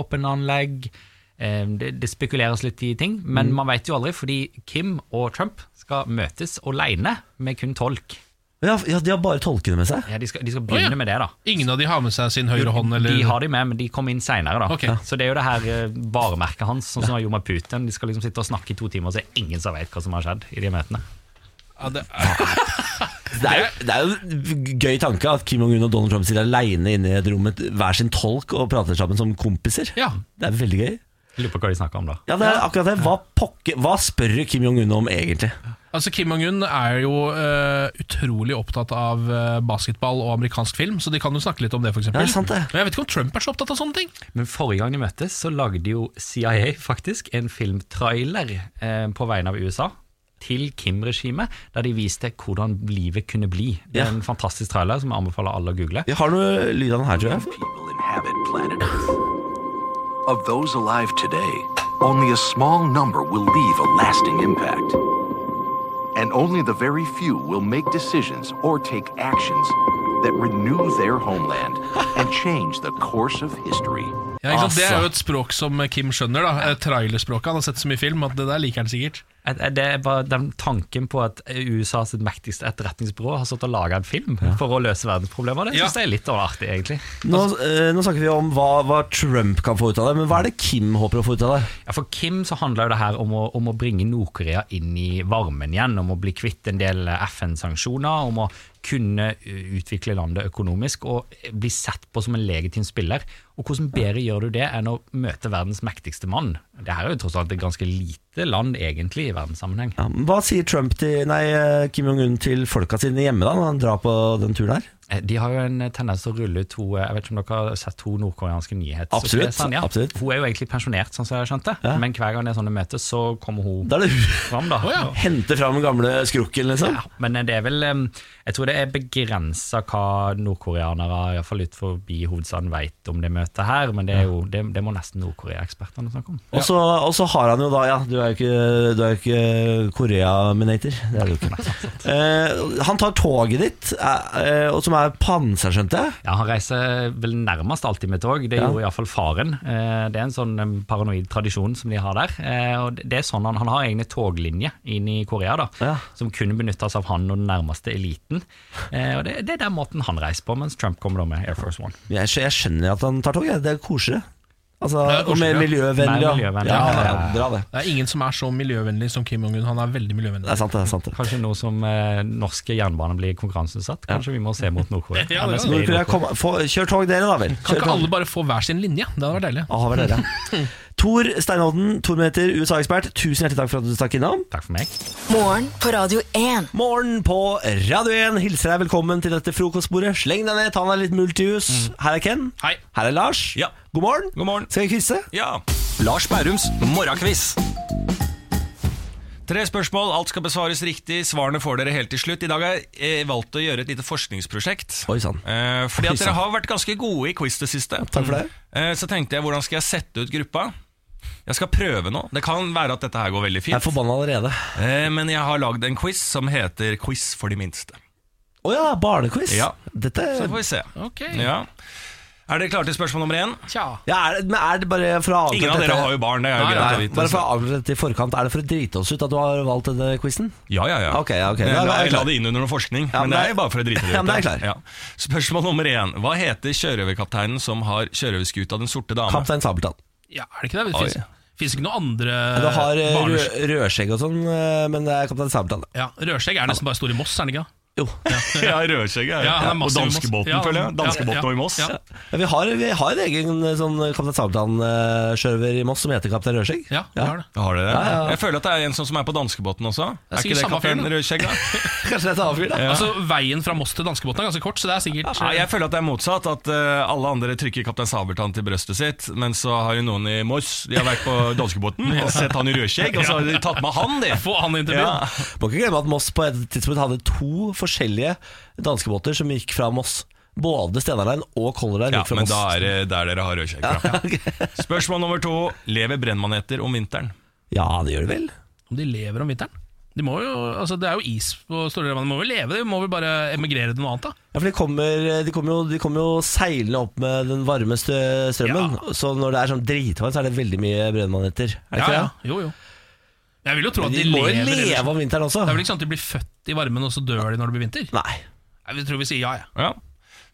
atomvåpenanlegg. Ehm, Det, det spekuleres litt i ting, men Mm. man vet jo aldri, fordi Kim og Trump skal møtes alene med kun tolk. Ja, ja, De har bare tolkene med seg. Ja, de skal, de skal begynne Å, ja. med det, da. Ingen av de har med seg sin høyre hånd, eller De har de med, men de kom inn seinere, da. Ok. Så det er jo det her eh, varemerket hans, sånn som han gjorde med Putin. De skal liksom sitte og snakke i to timer, så er det ingen som vet hva som har skjedd i de møtene. ja, det er, Det er, jo- det er jo en gøy tanke at Kim Jong-un og Donald Trump sitter alene inne i et rom med hver sin tolk og prater sammen som kompiser. Ja. Det er veldig gøy. Lurer på hva de snakker om da. Ja, det er akkurat det. Hva, pokke, hva spør Kim Jong-un om egentlig? Altså Kim Jong-un er jo eh, utrolig opptatt av eh, basketball og amerikansk film, så de kan jo snakke litt om det, f.eks. Ja, det er sant det. Men jeg vet ikke om Trump er så opptatt av sånne ting. Men forrige gang de møttes, så lagde jo CIA faktisk en filmtrailer eh, på vegne av USA til Kim-regimet, der de viste hvordan livet kunne bli. Det er Ja. en fantastisk trailer som jeg anbefaler alle å google. Vi har noe lyd av den her, tror jeg. people inhabit planet Earth. Of those alive today, only a small number will leave a lasting impact. And only the very few will make decisions or take actions that renew their homeland and change the course of history. Ja, ikke sant? Det er Altså. jo et språk som Kim skjønner. da Eh, Trailerspråket. Han har sett så mye film at det der liker han sikkert. At- at Det er bare den tanken på at USA sitt mektigste etterretningsbyrå har stått og laga en film for å løse verdensproblemer, det Ja. synes jeg er litt overartig, egentlig. Nå, eh, nå snakker vi om hva, hva Trump kan få ut av det, men hva er det Kim håper å få ut av det? Ja, For Kim så handler jo det her om å, om å bringe Nord-Korea inn i varmen igjen, om å bli kvitt en del FN-sanksjoner, om å kunne eh, utvikle landet økonomisk og eh, bli sett på som en legitim spiller. Og hvordan bedre gjør du det enn å møte verdens mektigste mann? Det her er jo tross alt et ganske lite land, egentlig, i verdenssammenheng. Ja, men hva sier Trump til, nei, eh, Kim Jong-un til folka sine hjemme da, når han drar på den turen her? Eh, De har jo en tendens til å rulle ut to eh, Jeg vet ikke om dere har sett to nordkoreanske nyheter Absolutt, ja. absolutt. Hun er jo egentlig pensjonert, sånn som jeg skjønte Ja. Men hver gang det er sånne møter, så kommer hun Da er det fram da ja. hente fram den gamle skrukken, liksom. Ja, men det er vel em, Jeg tror det er begrenset hva nordkoreanere i hvert fall ut forbi hovedstaden vet om det møtet her Men det, er jo, det, det må nesten nordkorea-ekspertene snakke om Og så, og så har han jo da, ja, du er jo ikke, du er jo ikke Korea-minator, det er du ikke. Eh, han tar toget ditt, eh, eh, og som er panser, skjønte jeg. Ja, han reiser vel nærmest alltid med tog. Det Ja. gjorde iallfall faren. Eh, Det er en sånn eh, paranoid tradisjon som de har der. Eh, Og det er sånn Han, han har egne toglinjer inn i Korea, da, Ja. som kunne benyttes av han og den nærmeste eliten. Eh, Og det, det er den måten han reiser på, mens Trump kommer da med Air Force One. Jeg, skj- jeg skjønner at han tar tog, jeg. det er koseligere. Altså, Det er og mer koseligere. miljøvennlig. Mer ja. miljøvennlig. Ja, ja, ja, bra det. Det er ingen som er så miljøvennlig som Kim Jong-un. Han er veldig Det miljøvennlig. er sant, det er sant. det. Kanskje nå som eh, norske jernbaner blir konkurranseutsatt, kanskje vi må se mot Nord-Korea. Ja, det er Mens vi- Nordkorea, kom, få, kjør tog dere da vel. Kan Kjør ikke tog. alle bare få hver sin linje? Det hadde vært deilig. Ah, hva er dere? Tor Steinodden, Tor-meter, USA-ekspert, tusen hjertelig takk for at du stakk innom. Takk for meg. Morgen på Radio 1. Morgen på Radio 1 hilser deg velkommen til dette frokostbordet. Sleng deg ned, ta deg litt multijus. Her er Ken. Hei. Her er Lars. Mm. Ja. God morgen. God morgen. Skal vi quize? Ja. Lars Bærums morgenkviss. Tre spørsmål, alt skal besvares riktig. Svarene får dere helt til slutt. I dag har jeg eh, valgt å gjøre et lite forskningsprosjekt. Oi sann. Eh, fordi at dere har vært ganske gode i quiz det siste. Takk for det. Eh, så tenkte jeg, hvordan skal jeg sette ut gruppa? Jeg skal prøve nå. Det kan være at dette her går veldig Jeg er fint. forbanna allerede. Eh, men jeg har lagd en quiz som heter Quiz for de minste. Å ja, barnequiz. Ja. Dette Så får vi se. Ok, Ja. Er dere klare til spørsmål nummer én? tja ja, er, det- men er det bare for å avslutte Ingen av dere har jo barn, det er jo Nei, greit å Nei, vite. bare for så- å avslutte dette i forkant, er det for å drite oss ut at du har valgt denne quizen? Ja, ja, ja. Ok, ja, ok. Jeg, la, Da er jeg jeg la klar. det inn under noe forskning, Ja, men men da det er- er jo bare for å drite det ut. Ja, men da er jeg klar. Ja. Spørsmål nummer én. Hva heter sjørøverkapteinen som har sjørøverskuta Den sorte dame? Kaptein Sabeltann. Ja, er det ikke det? Oi. Det fins ikke noen andre Du har eh, rø barnes... rødskjegg og sånn, eh, men det er Kaptein Sabeltann. Ja, Rørskjegg er nesten bare stor i Moss, er han ikke? det? Jo. Ja, Rødskjegget. Ja, han er og massiv i Moss. danskebåten, Ja, føler jeg. ja, Danskebåten ja, og i Moss. ja. Ja, vi, har, vi har en egen eh, sånn Kaptein Sabeltann-sjørver i Moss som heter Kaptein Rødskjegg. Ja, det har det. Har dere det? Ja, ja, ja. Jeg føler at det er en sånn som er på danskebåten også. Det er Er ikke sikkert det samme kaptein fyren, da. Rødskjegg, da? Kanskje det er et annet fyr, da. Altså, Veien fra Moss til danskebåten er ganske kort, så det er sikkert Nei, jeg føler at det er motsatt. At eh, alle andre trykker Kaptein Sabeltann til brøstet sitt, men så har jo noen i Moss De har vært på danskebåten og sett han i rødskjegg, og så har de tatt med han, de. Få han inn til byen. Ja. Må ikke glemme at Moss på et tidspunkt hadde to forskjellige danskebåter som gikk fra Moss. Både Steinar Line og Color Line Ja, gikk fra men Moss. da er det der dere har rødskjegg fra. Spørsmål nummer to. Lever brennmaneter om vinteren? Ja, det gjør det vel. Om de lever om vinteren? De må jo, altså Det er jo is på store deler av landet. De må jo leve, de må vel bare emigrere til noe annet, da. Ja, for de kommer, de, kommer jo, de kommer jo seilende opp med den varmeste strømmen. Så når det er sånn dritvarmt, så er det veldig mye brennmaneter. Er det ikke det? Jo, jo. Men Jeg vil jo tro Men at de, De må jo lever leve ellers. om vinteren også. Det er vel ikke sånn at de blir født i varmen, og så dør de når det blir vinter? Nei. Jeg vil tro vi sier ja, jeg. Ja.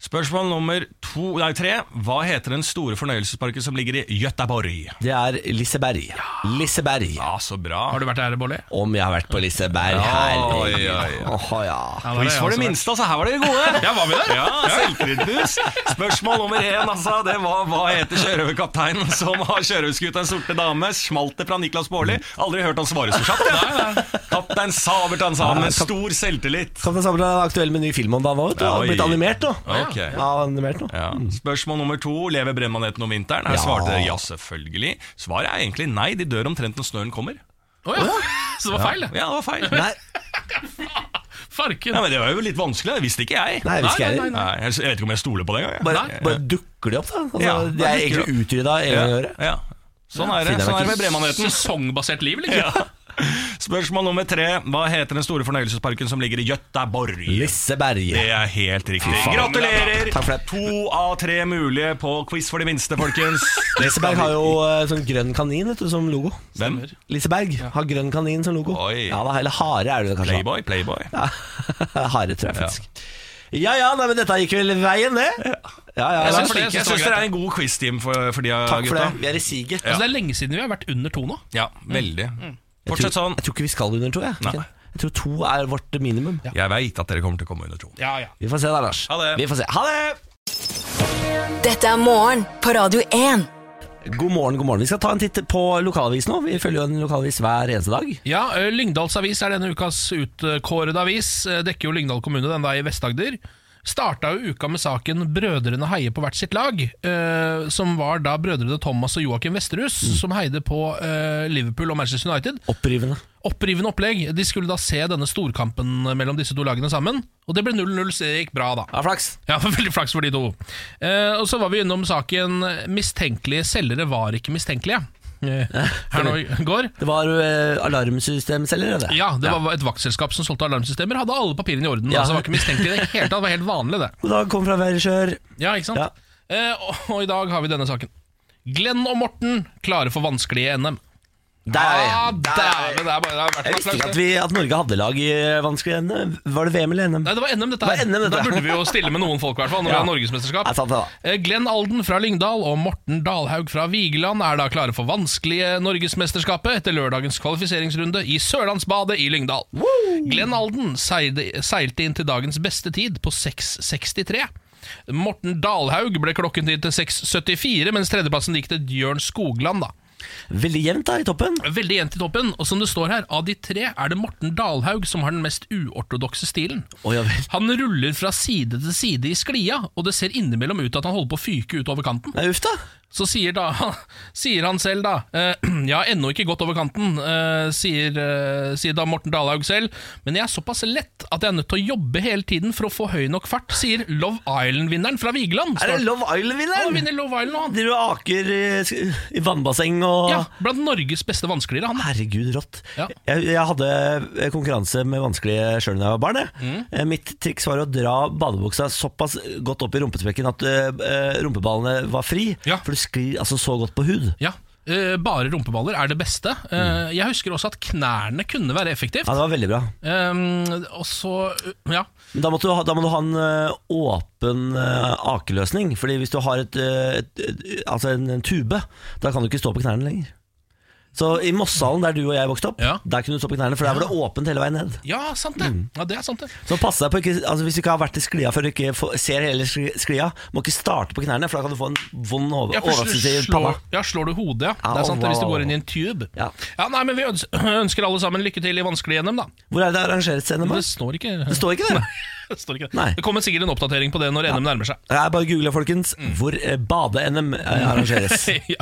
Spørsmål nummer to, nei, tre. Hva heter den store fornøyelsesparken som ligger i Göteborg? Det er Liseberg. Liseberg. Ja, så bra. Har du vært der, Bolli? Om jeg har vært på Liseberg? Ja, Herregud. ja, ja. Åh, ja. Ja, Quiz for det minste, altså. Her var dere gode. Ja, var vi det? Ja, Selvkritisk. Spørsmål nummer én, altså. Det var hva heter sjørøverkapteinen som har sjørøverskuta Den sorte dame? Smaltet fra Niklas Baarli. Aldri hørt han svare så kjapt. ja. Kaptein Sabeltann sa han med stor selvtillit. Kaptein Sabeltann er aktuell med ny film om dagen òg. Ja, Har oi. blitt animert nå. Ok. Ja, animert nå. Ja. Spørsmål nummer to. Lever brennmaneten om vinteren? Her Ja. svarte dere ja, selvfølgelig. Svaret er egentlig nei. De dør omtrent når snøen kommer. Å ja. Så det var feil, Ja, det var feil. Farken. Nei, men Det var jo litt vanskelig. Det visste ikke jeg. Nei, det visste ikke jeg nei, nei, nei. Jeg vet ikke om jeg stoler på det engang. jeg. Bare, Nei. bare dukker de opp, da? Altså, Ja, de bare er dukker egentlig utrydda en gang i Ja, året. ja. Sånn er det Finner sånn meg er det med ikke. bremannheten. Altså, Sesongbasert liv, eller? Altså, Ja. Spørsmål nummer tre. Hva heter den store fornøyelsesparken som ligger i Göteborg? Liseberg. Det er helt riktig. Fy faen. Gratulerer! Takk for det. To av tre mulige på quiz for de minste, folkens. Det skal Liseberg har vi- jo eh, sånn grønn kanin vet du, som logo. Hvem? Liseberg har grønn kanin som logo. Oi. Ja, da, Eller hare er det kanskje. Playboy, Playboy. Ja, hare, tror jeg faktisk. Ja ja, nei, men dette gikk vel veien, det. Ja, ja, Jeg ja. syns det- jeg jeg synes syns det var dere er en god quiz-team for, for de av Takk for det. gutta. Vi er i siget. Altså, det er lenge siden vi har vært under to nå. Ja, veldig. Fortsett Jeg tror, sånn. jeg tror ikke vi skal under to. Jeg, Nei. jeg tror to er vårt minimum. Jeg veit at dere kommer til å komme under to. Ja, ja. Vi får se da, Lars. Ha det. Vi får se. Ha det! Dette er morgen på Radio 1. God morgen, god morgen. Vi skal ta en titt på lokalavis nå. Vi følger jo en lokalavis hver eneste dag. Ja, ø, Lyngdals avis er denne ukas utkårede avis. Ø, Dekker jo Lyngdal kommune, den da i Vest-Agder. Starta jo uka med saken 'Brødrene heier på hvert sitt lag', ø, som var da brødrene Thomas og Joakim Vesterhus Mm. som heide på ø, Liverpool og Manchester United. Opprivende. Opprivende opplegg. De skulle da se denne storkampen mellom disse to lagene sammen, og det ble 0-0, så det gikk bra, da. Ja, flaks. Ja, veldig flaks for de to. Eh, og så var vi innom saken 'Mistenkelige selgere var ikke mistenkelige'. Eh, her nå i går. Det var eh, alarmsystemselger, det. Ja, det var et vaktselskap som solgte alarmsystemer. Hadde alle papirene i orden. Ja. Altså, det var ikke mistenkelig i det hele tatt. Det var helt vanlig, det. God dag, kom fra Veresjør. Ja, ikke sant? Ja. Eh, og, og i dag har vi denne saken. Glenn og Morten klare for vanskelige NM. Der! Ah, der. dæven, det er bare- det har vært en Jeg visste applaus, ikke at, det. vi, at Norge hadde lag i vanskelig NM. Var det VM eller NM? Nei, det var NM, dette Det var NM, dette. Da burde vi jo stille med noen folk, i hvert fall, når Ja. vi har norgesmesterskap. Jeg sa det da. Eh, Glenn Alden fra Lyngdal og Morten Dalhaug fra Vigeland er da klare for vanskelige Norgesmesterskapet etter lørdagens kvalifiseringsrunde i Sørlandsbadet i Lyngdal. Glenn Alden seide, seilte inn til dagens beste tid på 6.63. Morten Dalhaug ble klokken inn til 6.74, mens tredjeplassen gikk til Bjørn Skogland. da. Veldig jevnt da, i toppen. Veldig jevnt i toppen, og som det står her, av de tre er det Morten Dalhaug som har den mest uortodokse stilen. Å, ja vel. Han ruller fra side til side i sklia, og det ser innimellom ut til at han holder på å fyke utover kanten. Nei, uff da. Så sier, da, sier han selv da eh, Jeg har ennå ikke gått over kanten, eh, sier, eh, sier da Morten Dalhaug selv, men jeg er såpass lett at jeg er nødt til å jobbe hele tiden for å få høy nok fart, sier Love Island-vinneren fra Vigeland. Er det Love Han Island-vinneren? vinner Love Island, og han. Driver og aker eh, sk- i vannbasseng og Ja, Blant Norges beste vanskeligere, han. Herregud, rått. Ja. Jeg, jeg hadde eh, konkurranse med vanskelige sjøl da jeg var barn. jeg. Mm. Eh, Mitt triks var å dra badebuksa såpass godt opp i rumpesprekken at eh, eh, rumpeballene var fri. Ja. For du sklir altså så godt på hud. Ja, eh, Bare rumpeballer er det beste. Eh, Jeg husker også at knærne kunne være effektivt. Ja, Det var veldig bra. Eh, og så eh, ja. Men da, måtte du ha, da må du ha en eh, åpen eh, akeløsning. Fordi hvis du har et, eh, et, et, altså en, en tube, da kan du ikke stå på knærne lenger. Så i Mosshallen, der du og jeg vokste opp, Ja. der kunne du stå på knærne, for der var det åpent hele veien ned. ja, sant det. Mm. Ja, det er sant det. Så pass deg på ikke, altså Hvis du ikke har vært i sklia før du ikke får, ser hele skli- sklia, må ikke starte på knærne, for da kan du få en vond over, Ja, først overraskelse i slår, panna. ja, slår du hodet, ja. Det er sant det hvis du går inn i en tube. Ja. nei, men Vi øns- ønsker alle sammen lykke til i vanskelig NM, da. Hvor er det arrangert scene? Det Det, står ikke det står ikke det. Det står ikke det. Nei. Det kommer sikkert en oppdatering på det når NM nærmer seg. Det er bare å google, folkens, hvor eh, bade-NM eh, arrangeres. ja.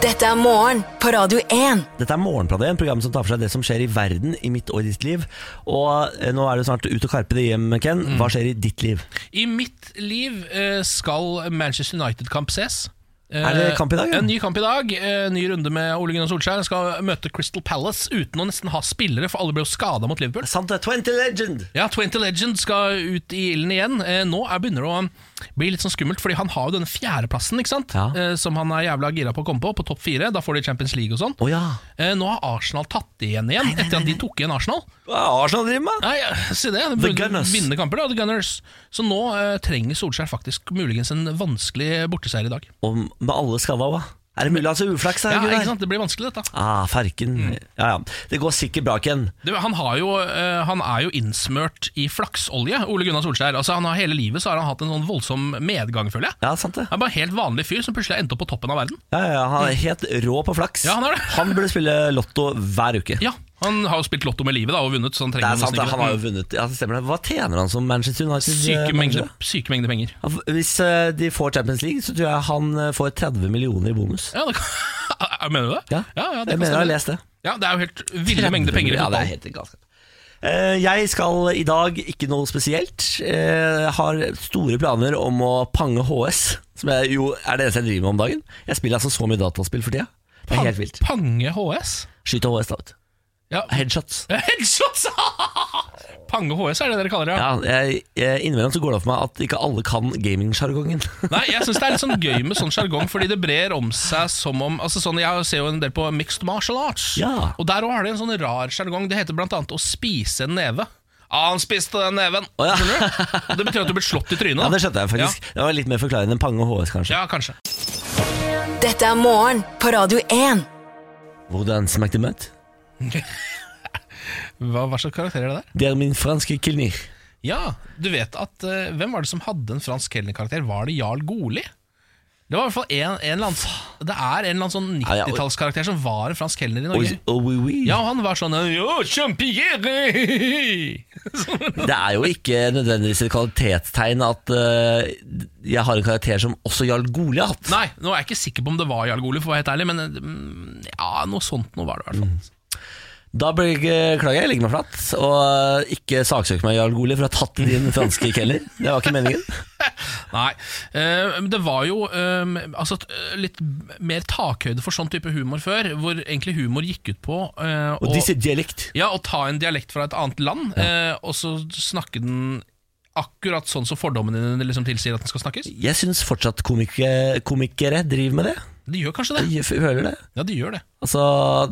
Dette er morgen på Radio 1. Dette er Morgenplanet, en program som tar for seg det som skjer i verden i mitt og ditt liv. Og eh, nå er det snart ut og karpe det hjem, Ken. Hva skjer i ditt liv? I mitt liv eh, skal Manchester United-kamp ses. Eh, Er det kamp i dag, ja? En ny kamp i dag. eh, Ny runde med Ole Gunnar Solskjær. Han Skal møte Crystal Palace uten å nesten ha spillere, for alle ble jo skada mot Liverpool. Sant det, 20 Legend! Ja, 20 Legend skal ut i ilden igjen. Eh, Nå er begynner det å blir litt sånn skummelt, fordi han har jo denne fjerdeplassen, ikke sant? Eh, som han er jævla gira på å komme på, på topp fire. Da får de Champions League og sånn. Eh, nå har Arsenal tatt igjen igjen, etter at de tok igjen Arsenal. Hva er Arsenal driver med? Nei, ja, si det. De The burde Gunners. vinne kamper, da, The Gunners. Så nå eh, trenger Solskjær faktisk muligens en vanskelig borteseier i dag. Og med alle skada òg, Er det mulig han har så uflaks? Ja, Gunnar? ikke sant? Det blir vanskelig, dette. Ah, Ferken. Mm. Ja, ja. Det går sikkert bra igjen. Du, han, har jo, eh, han er jo innsmørt i flaksolje, Ole Gunnar Solskjær. Altså, han har Hele livet så har han hatt en sånn voldsom medgang, føler jeg. Ja, sant det. Han er bare en helt vanlig fyr som plutselig endte opp på toppen av verden. Ja, ja, han er helt rå på flaks. Ja, han er det. burde spille lotto hver uke. Ja, Han har jo spilt lotto med livet da, og vunnet. sånn Så han Det trenger er sant, nesten han ikke- har jo vunnet ja, det stemmer det. Hva tjener han som Manchester United? Syke eh, mengder, manager? syke mengder penger. Ja, Hvis eh, de får Champions League, så tror jeg han eh, får 30 millioner i bonus. Ja, det kan, Mener du det? Ja, ja, det jeg kan mener jeg har stemme. lest det. Ja, Det er jo helt ville mengder penger i Ja, det fotball. er helt galskap. Eh, Jeg skal i dag ikke noe spesielt. Eh, Har store planer om å pange HS, som jeg, jo er det eneste jeg driver med om dagen. Jeg spiller altså så mye dataspill for tida. Det er helt vilt. Pange HS? Skyte HS, da, vet du. Headshots. Headshots! Pange HS er det dere kaller det? Ja, jeg, jeg, innimellom så går det opp for meg at ikke alle kan gamingsjargongen. Nei, jeg syns det er litt sånn gøy med sånn sjargong, fordi det brer om seg som om altså sånn, Jeg ser jo en del på mixed martial arts, Ja. og der òg har de en sånn rar sjargong. Det heter blant annet 'å spise en neve'. Ah, han spiste den neven! Skjønner du? Det betyr at du blir slått i trynet. Ja, da. det skjønte jeg faktisk. Det var litt mer forklarende enn Pange og HS, kanskje. Ja, kanskje. Dette er morgen på Radio 1. Hvordan smakte møtt? Hva, hva slags karakter er det der? Det er min franske kelner. Ja, du vet at eh, Hvem var det som hadde en fransk kelnerkarakter? Var det Jarl Goli? Det var i hvert fall en, en eller annen Det er en eller annen sånn Ja, ja, og- 90-tallskarakter som var en fransk kelner i Og, Norge. og oui, oui. Ja, han var sånn Yo, champigere! Det er jo ikke nødvendigvis et kvalitetstegn at eh, jeg har en karakter som også Jarl Goli har hatt. Nei, nå er jeg ikke sikker på om det var Jarl Goli, for å være helt ærlig, men mm, ja, noe sånt noe var det i hvert fall. Da beklager jeg, jeg legger meg flatt, og eh, ikke saksøk meg, Jarl Goli, for å ha tatt din franske kelner. Det var ikke meningen. Nei, eh, men det var jo eh, altså, t- eh, litt mer takhøyde for sånn type humor før, hvor egentlig humor gikk ut på eh, Og disse dialekt. Ja, å ta en dialekt fra et annet land, eh, og så snakke den akkurat sånn som fordommen din liksom tilsier at den skal snakkes. Jeg syns fortsatt komikere, komikere driver med det. De gjør kanskje det. Jeg føler det. Ja, de gjør det. Altså,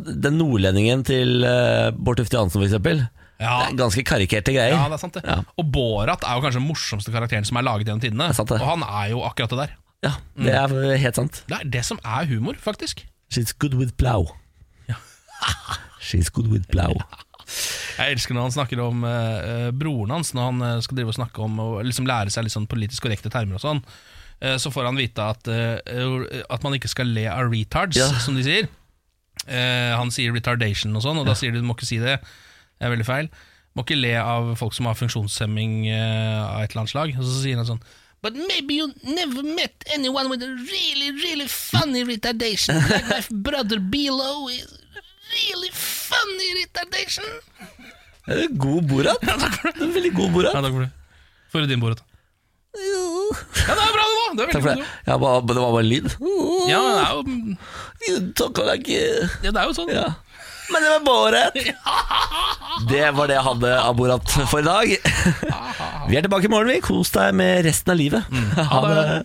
den nordlendingen til eh, Bård Tufte Johansen, for eksempel. Ja. Det er ganske karikerte greier. Ja, det er sant det. Ja. Og Borat er jo kanskje den morsomste karakteren som er laget gjennom tidene, og han er jo akkurat det der. Det Mm. er helt sant. Det er det som er humor, faktisk. She's good with plow. She's good with plow. Jeg elsker når han snakker om eh, eh, broren hans, når han eh, skal drive og snakke om og liksom lære seg litt sånn politisk korrekte termer og sånn. Eh, så får han vite at, eh, eh, at man ikke skal le av retards, Ja. som de sier. Eh, han sier retardation og sånn, og da sier de du må ikke si det. Det er veldig feil. Må ikke le av folk som har funksjonshemming eh, av et eller annet slag. Og så sier han sånn But maybe you never met anyone with a really, really funny retardation. Like my brother Bilo is really funny retardation. God Borat. En Veldig god Borat. Ja, takk for det. For din Borat. Ja, det er bra, det nå! Det er Takk veldig for bra. det. Ja, ba- det var bare en lyd. nå. Ja, det er jo, Takk og takk. ja, det er jo sånn. Ja. Men det var Borat. Det var det jeg hadde av Borat for i dag. Vi er tilbake i morgen, vi. Kos deg med resten av livet. Ha det.